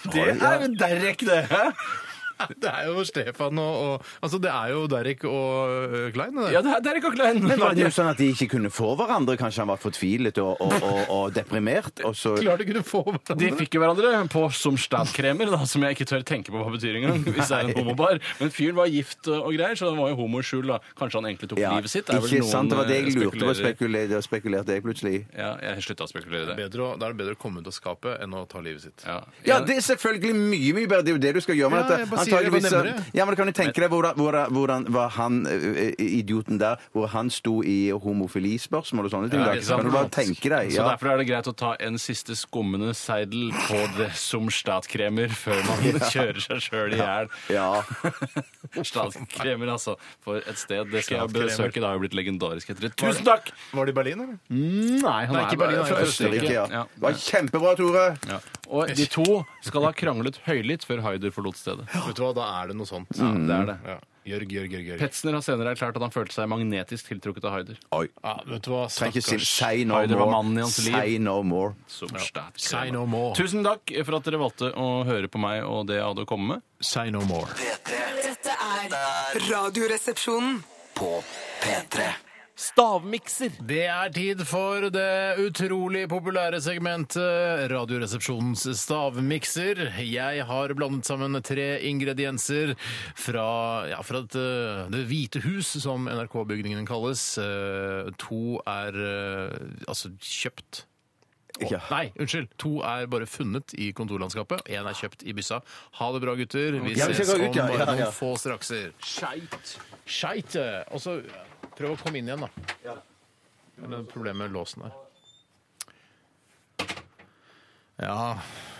S5: Det er jo Derek, det! hæ?
S3: Det er jo Stefan og, og Altså, det er jo Derek og eh, Klein. Det. der.
S5: Ja, det er Derek og Klein.
S4: Men var det jo sånn at de ikke kunne få hverandre? Kanskje han var fortvilet og, og, og, og deprimert? Og så
S3: Klart de kunne få [LAUGHS] hverandre.
S5: De fikk jo hverandre på Sumstadkremer, da, som jeg ikke tør tenke på hva betyr engang. hvis det er en homobar. Men fyren var gift og greier, så han var jo homo i skjul. da. Kanskje han egentlig tok
S4: Ja,
S5: livet sitt? er vel
S4: ikke
S5: noen,
S4: sant? Det var det jeg
S5: eh,
S4: lurte på.
S5: spekulerer i.
S4: Spekulerte, spekulerte jeg plutselig.
S5: Ja, jeg slutta å spekulere i det.
S3: Bedre å, da er det bedre å komme ut av skapet enn å ta livet sitt.
S5: Ja.
S4: Ja, det er selvfølgelig mye mye bedre. Det er jo det du skal gjøre med
S3: Ja, jeg
S4: dette.
S3: bare sier det, det var
S4: så-
S3: nemmere.
S4: ja, men kan du tenke deg hvordan, hvordan, hvordan var han ø, ø, idioten der, hvor han sto i homofilispørsmål og sånne ting?
S5: Ja,
S4: da,
S5: ikke
S4: ikke sant?
S5: sant?
S4: Kan du bare tenke deg?
S5: Så
S4: Ja.
S5: derfor er det greit å ta en siste skummende seidel på det Sumstadkremer før
S4: [LAUGHS]
S5: man kjører seg sjøl i hjel. [LAUGHS]
S4: Ja.
S5: Stadkremer, altså. For et sted. Det skal jeg
S3: Stadkremer.
S5: besøke. Det har jo blitt legendarisk etter det. Tusen takk!
S3: Var det i Berlin, eller?
S5: Nei, han
S3: Nei, ikke Berlin, han er
S5: bare fra
S3: i
S4: Østerrike, ja.
S5: Ja.
S4: Det var kjempebra, Tore.
S5: Ja. Og de to skal ha kranglet høylytt før Haider forlot stedet.
S3: Vet du hva, da er det noe sånt. Ja. Jørg, Jørg, Jørg. Jørg.
S5: Petzner har senere erklært at han følte seg magnetisk tiltrukket av Haider.
S4: Oi.
S3: Ja, vet du hva,
S4: Trenger ikke si
S3: stakkars.
S4: say no
S5: Nei, det var mannen i
S4: more.
S5: hans liv.
S4: Say no more.
S5: Som stat.
S3: Say no more.
S5: Tusen takk for at dere valgte å høre på meg og det jeg hadde å komme med.
S3: Say no more.
S6: Dette er Radioresepsjonen.
S2: På P3.
S7: Stavmikser.
S3: Det er tid for det utrolig populære segmentet Radioresepsjonens stavmikser. Jeg har blandet sammen tre ingredienser fra, ja, fra et, eh, Det hvite hus, som NRK-bygningen kalles. Eh, To er eh, altså kjøpt.
S4: Ja.
S3: Nei, unnskyld. To er bare funnet i kontorlandskapet. Én er kjøpt i byssa. Ha det bra, gutter. Vi
S4: Ja, vi skal
S3: ses
S4: gå
S3: om
S4: ut, ja,
S3: bare
S4: ja, ja.
S3: noen få strakser. Skeit. eh, Og så eh, prøv å komme inn igjen, da. Eller problemet med låsen her. Ja,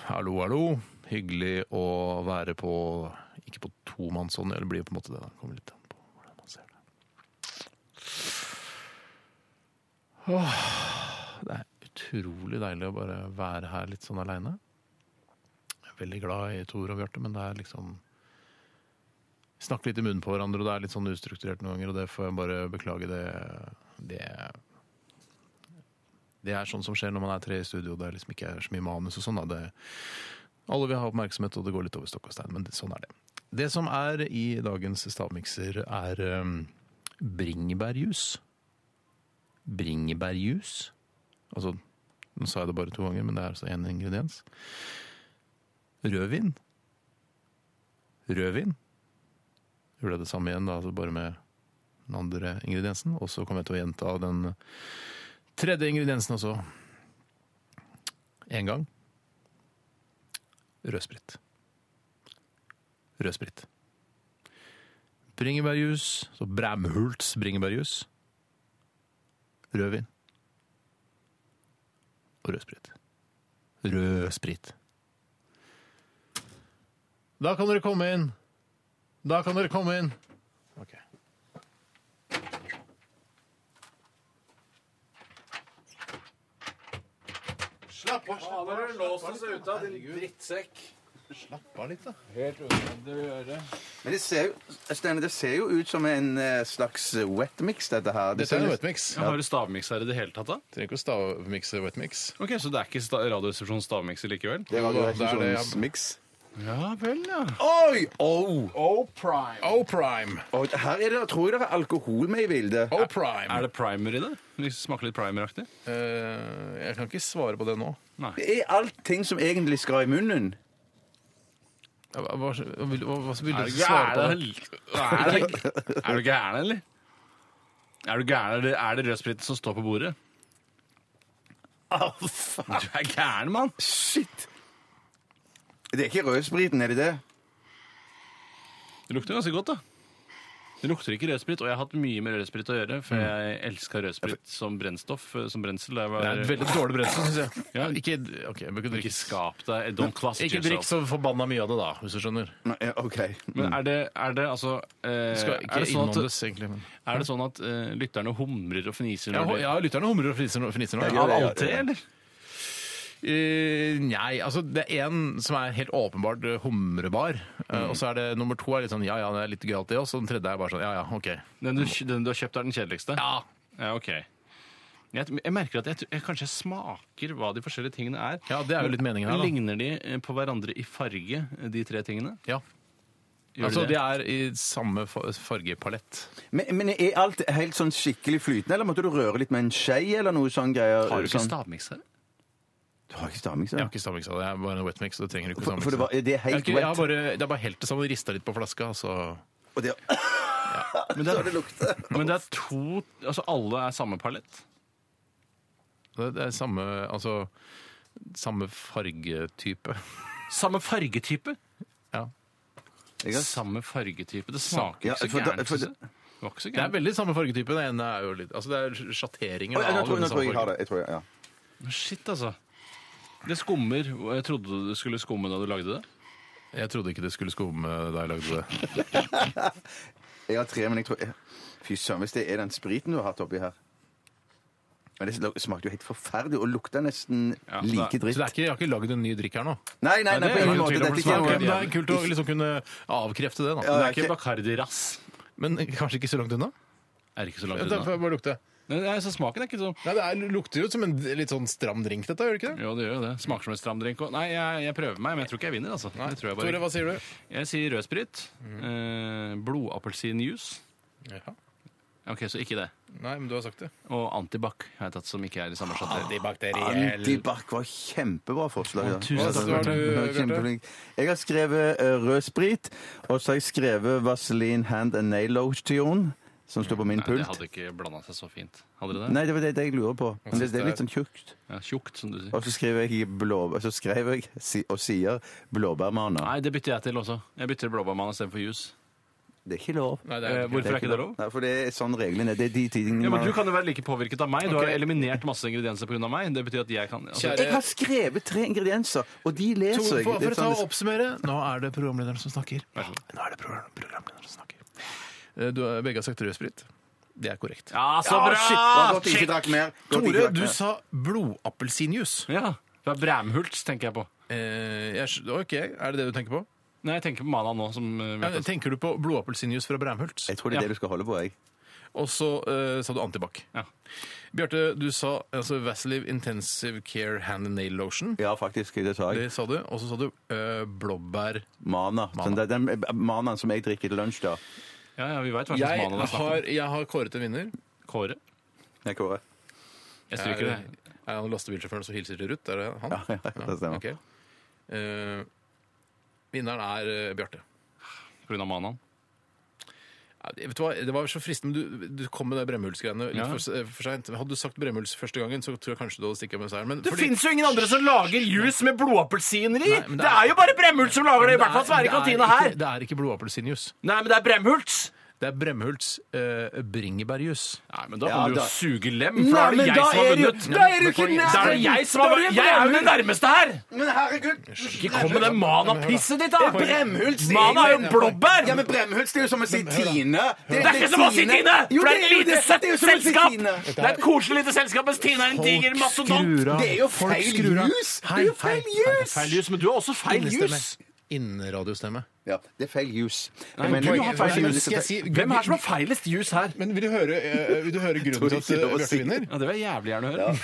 S3: hallo, hallo. Hyggelig å være på Ikke på tomannshånd, eller blir på en måte det. da. Kommer litt an på hvordan man ser det. Åh, det er utrolig deilig å bare være her litt sånn aleine. Jeg er veldig glad i Tor og Bjarte, men det er liksom Vi snakker litt i munnen på hverandre, og det er litt sånn ustrukturert noen ganger, og det får jeg bare beklage. Det, det det er sånn som skjer når man er tre i studio. Det er liksom ikke så mye manus og sånn. da. Det, alle vil ha oppmerksomhet, og det går litt over stokk og stein, men det, sånn er det. Det som er i dagens stavmikser, er um, bringebærjus. Bringebærjus. Altså, nå sa jeg det bare to ganger, men det er altså én ingrediens. Rødvin. Rødvin. Gjorde jeg det samme igjen, da, altså bare med den andre ingrediensen. Og så kommer jeg til å gjenta den Tredje ingrediensen også. En gang. Rødsprit. Rødsprit. Bringebærjus. Så Bræmhults bringebærjus. Rødvin. Og rødsprit. Rødsprit. Da kan dere komme inn. Da kan dere komme inn. Ok. Bare litt, da.
S4: Men det ser, jo- Steinar, det ser jo ut som en eh, slags wet mix, dette her. Det
S3: Dette
S4: ser
S3: er
S4: litt-
S3: en wetmix.
S5: Har du stavmiks her i det hele tatt, da?
S3: Trenger ikke å stavmikse wetmix.
S5: Ok, Så det er ikke sta- Radioresepsjonens stavmikser likevel?
S4: Det var jo
S3: Det er det, ja.
S4: sånn mix.
S5: Ja vel, ja.
S4: Oi! Oh.
S3: O-prime.
S4: Og her er det, tror jeg det er alkohol med i bildet.
S3: O-prime.
S5: Er det primer i det? Vi smaker litt primeraktig?
S3: Eh, jeg kan ikke svare på det nå.
S4: Det er alt ting som egentlig skal i munnen.
S3: Hva, hva, hva, vil- hva, hva vil
S5: Er
S3: du
S5: du
S3: svare på?
S5: gæren? Er du- er du gæren, eller? Er du gæren, eller er det rødspriten som står på bordet? Du er gæren, mann!
S4: Shit! Det er ikke rødspriten, er det det?
S5: Det lukter ganske godt, da. Det lukter ikke rødsprit, og jeg har hatt mye med rødsprit å gjøre,
S3: Mm.
S5: for jeg elska rødsprit som brennstoff. eh, Som brensel. Det
S3: Det er et veldig dårlig brensel, syns [LAUGHS] jeg.
S5: Ja.
S3: Ikke, ok, jeg bør ikke
S5: Ikke
S3: drikke
S5: skap deg Eh, Don't closet
S3: Ikke drikk så forbanna mye av det, da, hvis du skjønner.
S4: Nei, ja, OK.
S5: Men er det, er det altså eh,
S3: Skal
S5: er,
S3: ikke
S5: det sånn at,
S3: innåndes, egentlig. Men.
S5: er det sånn at eh, lytterne humrer og fniser?
S3: Ja,
S5: når de-
S3: ja, lytterne humrer og fniser nå- fniser nå.
S4: Ja,
S5: Av
S4: ja, ja.
S5: alle tre, eller?
S3: Eh, nei, altså det er en som er helt åpenbart eh, humrebar. eh,
S5: Mm.
S3: Og så er det nummer to er litt sånn ja ja, det er litt gøyalt det også. Og den tredje er bare sånn ja ja, OK.
S5: Den du, den du har kjøpt, er den kjedeligste? Ja. ok. Jeg, jeg merker at jeg, jeg kanskje smaker hva de forskjellige tingene er.
S3: Ja, det er jo litt meningen her, da.
S5: Ligner de eh, på hverandre i farge, eh, de tre tingene?
S3: Ja.
S5: Gjør
S3: altså
S5: de
S3: de
S5: det?
S3: er i samme fa- fargepalett.
S4: Men, men er alt helt sånn skikkelig flytende, eller måtte du røre litt med en skje eller noe sånn greier?
S5: Har du ikke
S4: sånn?
S5: stavmikser?
S4: Du har ikke stavmikser?
S3: Jeg har ikke stavmiksa det, jeg er bare en wetmix, så det trenger du ikke
S4: For, for det,
S3: stavmikse.
S4: var, det er
S3: Jeg har
S4: helt
S3: ikke- jeg har
S4: wet.
S3: bare, det er bare helt det samme, rista litt på flaska, altså. så
S4: Og det,
S5: Men det,
S4: så det
S5: er,
S4: lukter.
S5: men det er to Altså alle er samme palett?
S3: Det det er samme Altså samme fargetype.
S5: Samme fargetype?
S3: Ja.
S4: Jeg har-
S5: Samme fargetype. Det smaker
S4: Ja,
S5: ikke så
S4: for da-
S5: gærent.
S4: for
S5: synes
S4: da-
S5: jeg. Det var ikke så
S3: Det er
S5: gærent.
S3: veldig samme fargetype. Det ene er jo litt Altså det er
S4: Å,
S3: sjatteringer
S4: ja, Nå
S3: av
S4: tror
S3: den
S4: nå tror
S3: samme
S4: jeg jeg har
S3: fargen.
S4: det. Jeg tror jeg, ja.
S5: Shit, altså. Det skummer. og Jeg trodde det skulle skumme da du lagde det.
S3: Jeg trodde ikke det skulle skumme da jeg lagde det.
S4: jeg har tre, men jeg tror Fy søren, hvis det er den spriten du har hatt oppi her men Det luk- smakte jo helt forferdelig og lukta nesten
S5: Ja, så det-
S4: like
S3: Så
S4: dritt.
S3: det er ikke, jeg har ikke lagd en ny drikk her nå.
S4: Nei, nei, nei,
S5: det
S4: på
S5: er
S4: ingen
S5: jo
S4: måte.
S5: tydelig
S4: Dette
S5: å
S4: er
S5: bli
S4: ikke
S5: smaket.
S3: Ok,
S4: noe-
S3: men det er kult å liksom kunne avkrefte det, da.
S5: Det
S4: Ja,
S5: er ikke
S4: ikke-
S5: Bacardi Ras.
S3: Men kanskje ikke så langt unna?
S5: Er ikke så langt
S3: Da får
S5: unna.
S3: jeg bare lukte.
S5: Nei, altså, smaken er ikke sånn
S3: Nei, det er, lukter jo som en litt sånn stram drink, dette, gjør det ikke det?
S5: Jo, det gjør jo det. Smaker som en stram drink. og- Nei, jeg, jeg prøver meg, men jeg tror ikke jeg vinner. altså. Det tror jeg, bare.
S3: Tore, hva sier du?
S5: jeg sier rødsprit.
S3: Mhm.
S5: Eh, Blodappelsinjuice. Ok, så ikke det.
S3: Nei, men du har sagt det.
S5: Og antibac har jeg tatt, som ikke er i samme
S3: Ah,
S5: sjatter.
S3: Antibakteriell.
S4: Antibac var kjempebra forslag. ja.
S5: tusen takk.
S4: Ja,
S3: Hva har du,
S4: Kjempeflink. Jeg har skrevet eh, rød sprit, og så har jeg skrevet Vaseline Hand and Nail Lotion, som står på min
S5: Nei, det
S4: pult.
S5: hadde ikke blanda seg så fint. Hadde det det?
S4: Nei, det var det, det jeg lurer på. Men det, det er litt sånn tjukt.
S5: Ja, tjukt, som du sier.
S4: Og så skriver jeg, blå, så skrev jeg si, og sier blåbærmaner.
S5: Nei, det bytter jeg til også. Jeg bytter blåbærmann istedenfor juice.
S4: Det er ikke lov.
S3: Nei, det
S5: Eh,
S3: er det ikke.
S5: hvorfor er ikke det lov?
S4: Nei, for det er sånn reglene er. Det er de tingene
S5: Ja, men Du
S4: man
S5: kan jo være like påvirket av meg. Du har
S3: Ok.
S5: eliminert masse ingredienser pga. meg. Det betyr at jeg kan altså,
S3: Kjære-
S4: Jeg har skrevet tre ingredienser, og de
S3: Tore,
S4: leser jeg.
S3: for,
S4: Det er
S3: for å ta
S4: sånn-
S3: og oppsummere, nå er det programlederen som snakker.
S5: Vær så god.
S3: Nå er det program, programlederen som snakker. Eh, Du, har- begge har sagt rød sprit. Det er korrekt.
S5: Ja, så
S4: Ah,
S5: bra!
S4: shit, det var godt jeg ikke drakk mer. Godt jeg ikke
S3: Tore,
S4: drakk
S3: du
S4: mer.
S3: sa blodappelsinjuice.
S5: Ja, Fra Bræmhult, tenker jeg på.
S3: Eh, jeg skj- ok, er det det du tenker på?
S5: Nei, jeg tenker på Mana nå. som... eh, vet
S3: Ja,
S5: at-
S3: tenker du på blodappelsinjuice fra Bræmhult?
S4: Jeg tror det er
S5: Ja.
S4: det du skal holde på, jeg.
S3: Og så eh, sa du antibac.
S5: Ja.
S3: Bjarte, du sa altså, Vaselive Intensive Care Hand and Nail Lotion.
S4: Ja, faktisk. Det sa jeg.
S3: Det sa du. Og så sa du eh, blåbær.
S4: Mana. Sånn, det er den manaen som jeg drikker til lunsj, da.
S5: Ja, ja, vi vet hva slags
S3: Jeg
S5: mana det er snakk om.
S3: har, jeg har kåret en vinner.
S5: Kåre.
S4: Jeg kårer.
S5: Jeg stryker det.
S3: Er han lastebilsjåføren som hilser til Ruth? Er det han?
S4: Ja, ja, det stemmer.
S3: ok. Eh, vinneren er eh, Bjarte.
S5: På grunn av manaen.
S3: Ja, vet du hva, Det var så fristende, men du, du kom med det Bremhuls-greiene litt
S5: Ja.
S3: for, s- for seint. Hadde du sagt Bremhuls første gangen, så tror jeg kanskje du hadde stikket av med seieren. Men
S5: Det fins jo ingen andre som lager juice med blodappelsiner i!
S3: Nei, men det er-
S5: jo bare Bremhult som lager det! I hvert fall svære
S3: det er
S5: kantina
S3: ikke-
S5: her!
S3: Det er ikke blodappelsinjuice.
S5: Nei, men det er Bremhults!
S3: Det er Bremhults eh, bringebærjus.
S5: Nei, men da
S4: Ja,
S5: kan du jo
S4: da-
S5: suge lem, for
S4: Nei,
S5: da er det
S4: men
S5: jeg
S4: da
S5: som har
S4: er det jo-
S5: vunnet.
S4: da er det jo ikke
S5: Da er det
S4: nærheten.
S5: jeg
S4: Da
S5: som har
S4: er det
S5: vunnet! Jeg er jo den
S4: Bremhult.
S5: nærmeste her!
S4: Men herregud!
S5: Ikke kom med det mana-pisset ditt, da!
S4: Det er Bremhults
S5: Mana er jo
S4: egne-
S5: blåbær!
S4: Ja, men Bremhulst er jo som å si Tine.
S5: Det er ikke som å si Tine!
S4: Jo,
S5: For det er et
S4: jo
S5: lite, søtt
S4: Det er jo som å si
S5: selskap!
S4: Tine.
S5: Det er et koselig lite selskap, mens Tine er en diger mastodont.
S4: Det er jo feil jus! Det er jo feil jus!
S5: Feil jus, men du har også feil jus.
S3: Innradiostemme.
S4: Ja, det er feil jus.
S5: Nei, du har feil
S3: Men
S5: jus.
S3: skal jeg si-
S5: Hvem er det som har feilest jus her?
S3: Men vil du høre, eh, vil du høre grunnen til at eh,
S4: lov å si.
S3: Bjarte vinner?
S5: Ja, Det vil jeg jævlig gjerne høre.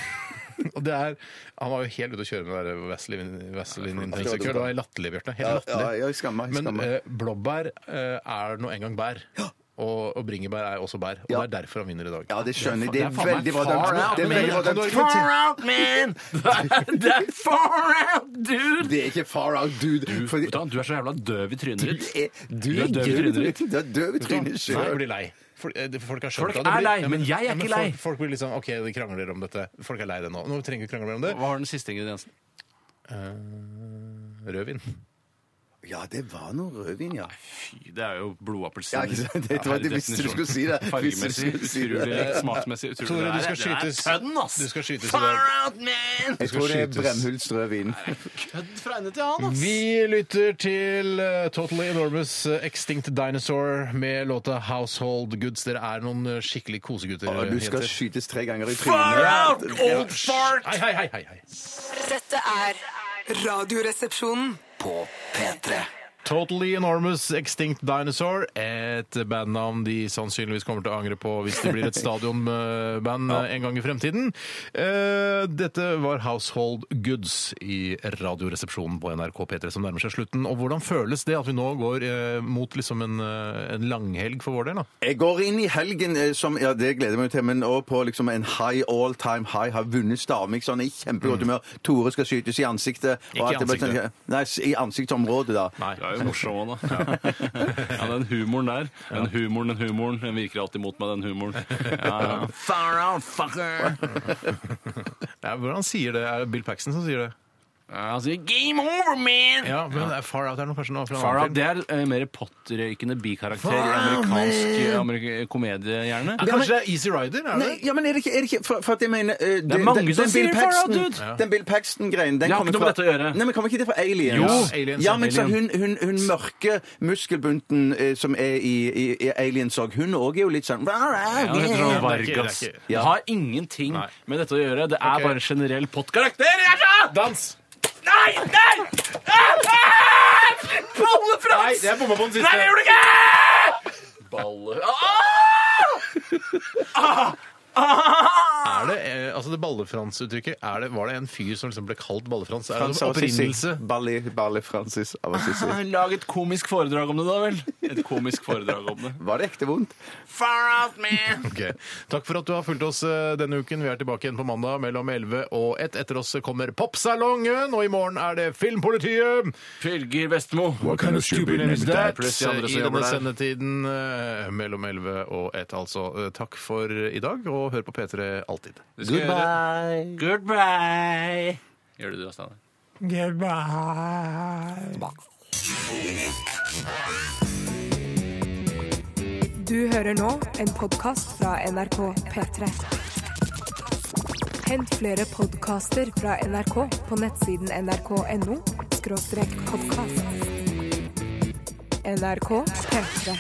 S3: Og det er, Han var jo helt ute å kjøre med det der Vaseline- Vaseline Intensive Care. Det var latterlig, Bjarte.
S4: Ja,
S3: Helt
S4: ja,
S3: latterlig.
S4: jeg skammer meg.
S3: Men
S4: Skammer.
S3: eh, blåbær eh, er nå engang bær. Og, og bringebær er også bær. Og det
S4: Ja.
S3: er derfor han vinner i dag.
S4: Ja, det skjønner jeg. Det
S5: Det er
S4: er
S5: faen meg
S4: veldig bra
S5: far
S4: dømt.
S5: out,
S4: Det er
S5: men-
S4: veldig bra
S5: Kan
S4: dømt.
S5: Far out, [LAUGHS] man! Det er far out, dude!
S4: Det er ikke far out, dude. Fordi
S5: Vet du hva, Du er så jævla døv i trynet
S4: du
S5: ditt.
S4: er, du
S5: Du er
S4: er
S5: døv i trynet ditt.
S4: Du er døv i trynet
S3: Nei, jeg
S4: sjøl.
S3: blir lei. Folk, eh, det- folk, har skjønt
S5: Folk
S3: at det
S5: er
S3: blir-
S5: lei,
S3: Ja,
S5: men jeg er
S3: ja,
S5: ikke lei.
S3: Folk, folk blir liksom OK, de krangler om dette. Folk er lei det nå. Nå trenger vi ikke krangle mer om det.
S5: Hva har den siste ingrediensen?
S3: Rødvin.
S4: Ja, det var noe rødvin, ja.
S5: Fy, det er jo blodappelsin.
S4: Ja, ikke sant? Jeg trodde- visste du skulle si det. Visste du
S5: Fargemessig,
S4: skulle si det.
S5: utrolig, smaksmessig, utrolig.
S3: Tore, du
S5: Det
S3: skal
S5: er-
S3: skytes.
S5: Det er tønn, ass!
S3: Du skal skytes i dag.
S5: Far out, man!
S4: Jeg
S3: skal
S4: tror det er
S3: skytes.
S4: brennhulst rødvin.
S5: Kødd fra ende til annen, ass!
S3: Vi lytter til eh, Totally Enormous eh, Extinct Dinosaur med låta Household Goods. Dere er noen eh, skikkelig kosegutter.
S4: Og
S3: eh,
S4: Ah, du skal
S3: jenter.
S4: skytes tre ganger i
S5: Far out,
S4: trynet.
S5: old fart!
S3: Hei, hei, hei, hei, hei.
S6: Dette er Radioresepsjonen.
S2: På P3.
S3: Totally Enormous Extinct Dinosaur. Et bandnavn de sannsynligvis kommer til å angre på hvis det blir et stadionband eh, en gang i fremtiden. Eh, Dette var Household Goods i Radioresepsjonen på NRK P3 som nærmer seg slutten. Og hvordan føles det at vi nå går eh, mot liksom en, eh, en langhelg for vår del? da?
S4: Jeg går inn i helgen eh, som Ja, det gleder jeg meg til, men òg på liksom en high all time high. Har vunnet Stavmik sånn i kjempegodt humør. Tore skal skytes i ansiktet. og
S3: Mm. Ikke i
S4: at det bare-
S3: ansiktet.
S4: Nei, s- i ansiktsområdet, da.
S5: Du er jo morsom [LAUGHS] òg, da. Ja, den humoren der. Den humoren, den humoren. Den virker alltid mot meg, den [LAUGHS] humoren. Ja, ja.
S8: Far out, fucker!
S3: Ja, hvordan sier det? Er det Bill Paxton som sier det?
S5: Han sier 'game over, man'!
S3: Ja, men det er Far Out er noe, kanskje noe fra en
S5: Far
S3: annen
S5: out, Det er eh, mer potterøykende bikarakter i amerikansk eh, amerik komedie, gjerne.
S3: film. Kanskje det er Easy Rider? Er det?
S4: Nei, ja, men er det ikke, er det ikke for, for at jeg mener eh, det,
S5: mange
S4: den-
S5: som
S4: den
S5: sier
S4: Bill
S5: Far Out,
S4: Paxton-
S5: dude.
S4: Ja. Den Bill Paxton-greien den
S5: Det har
S4: kommer
S5: ikke noe med
S4: fra-
S5: dette å gjøre.
S4: Nei, men Kommer ikke det fra Aliens?
S3: Jo, Aliens
S4: Aliens,
S3: er
S4: ja men så
S3: Alien.
S4: hun, hun, hun mørke muskelbunten eh, som er i, i, i Aliens òg, hun òg er jo litt sånn
S5: Ja, det heter sånn
S3: det er ikke- det er
S5: Vargas.
S3: ikke-
S5: Det har ingenting
S3: Nei.
S5: med dette å gjøre. Det er
S3: Ok.
S5: bare en generell pottkarakter. jeg sa!
S3: Dans!
S5: Nei! Nei! Ah! Ah! Bolle,
S3: Nei,
S5: Frans!
S3: det er bomma på den siste.
S5: Nei, det gjorde du ikke! Balle ah!
S3: Ah! Er det, eh, altså det Ballefrans-uttrykket, er det- var det en fyr som liksom ble kalt Ballefrans? Er det
S4: Frans
S3: en
S4: av Assisi.
S3: opprinnelse?
S4: Balli, Balli Francis av Assisi.
S5: sånn! Lag et komisk foredrag om det, da vel. Et komisk foredrag om det.
S4: Var det ekte vondt?
S5: Far out, man!
S3: Ok. Takk for at du har fulgt oss eh, denne uken. Vi er tilbake igjen på mandag mellom 11 og 1. Etter oss kommer Popsalongen, og i morgen er det Filmpolitiet.
S5: Fylger Vestmo.
S3: What kind of stupid name is that?
S5: Pluss de andre som
S3: I
S5: jobber
S3: denne
S5: der.
S3: sendetiden eh, mellom 11 og 1, altså. Eh, Takk for i dag, og hør på P3 alltid.
S5: Goodbye. Goodbye. Gjør det du, da, Steinar.
S1: Du hører nå en podkast fra NRK P3. Hent flere podkaster fra NRK på nettsiden nrk.no podkast. NRK P3.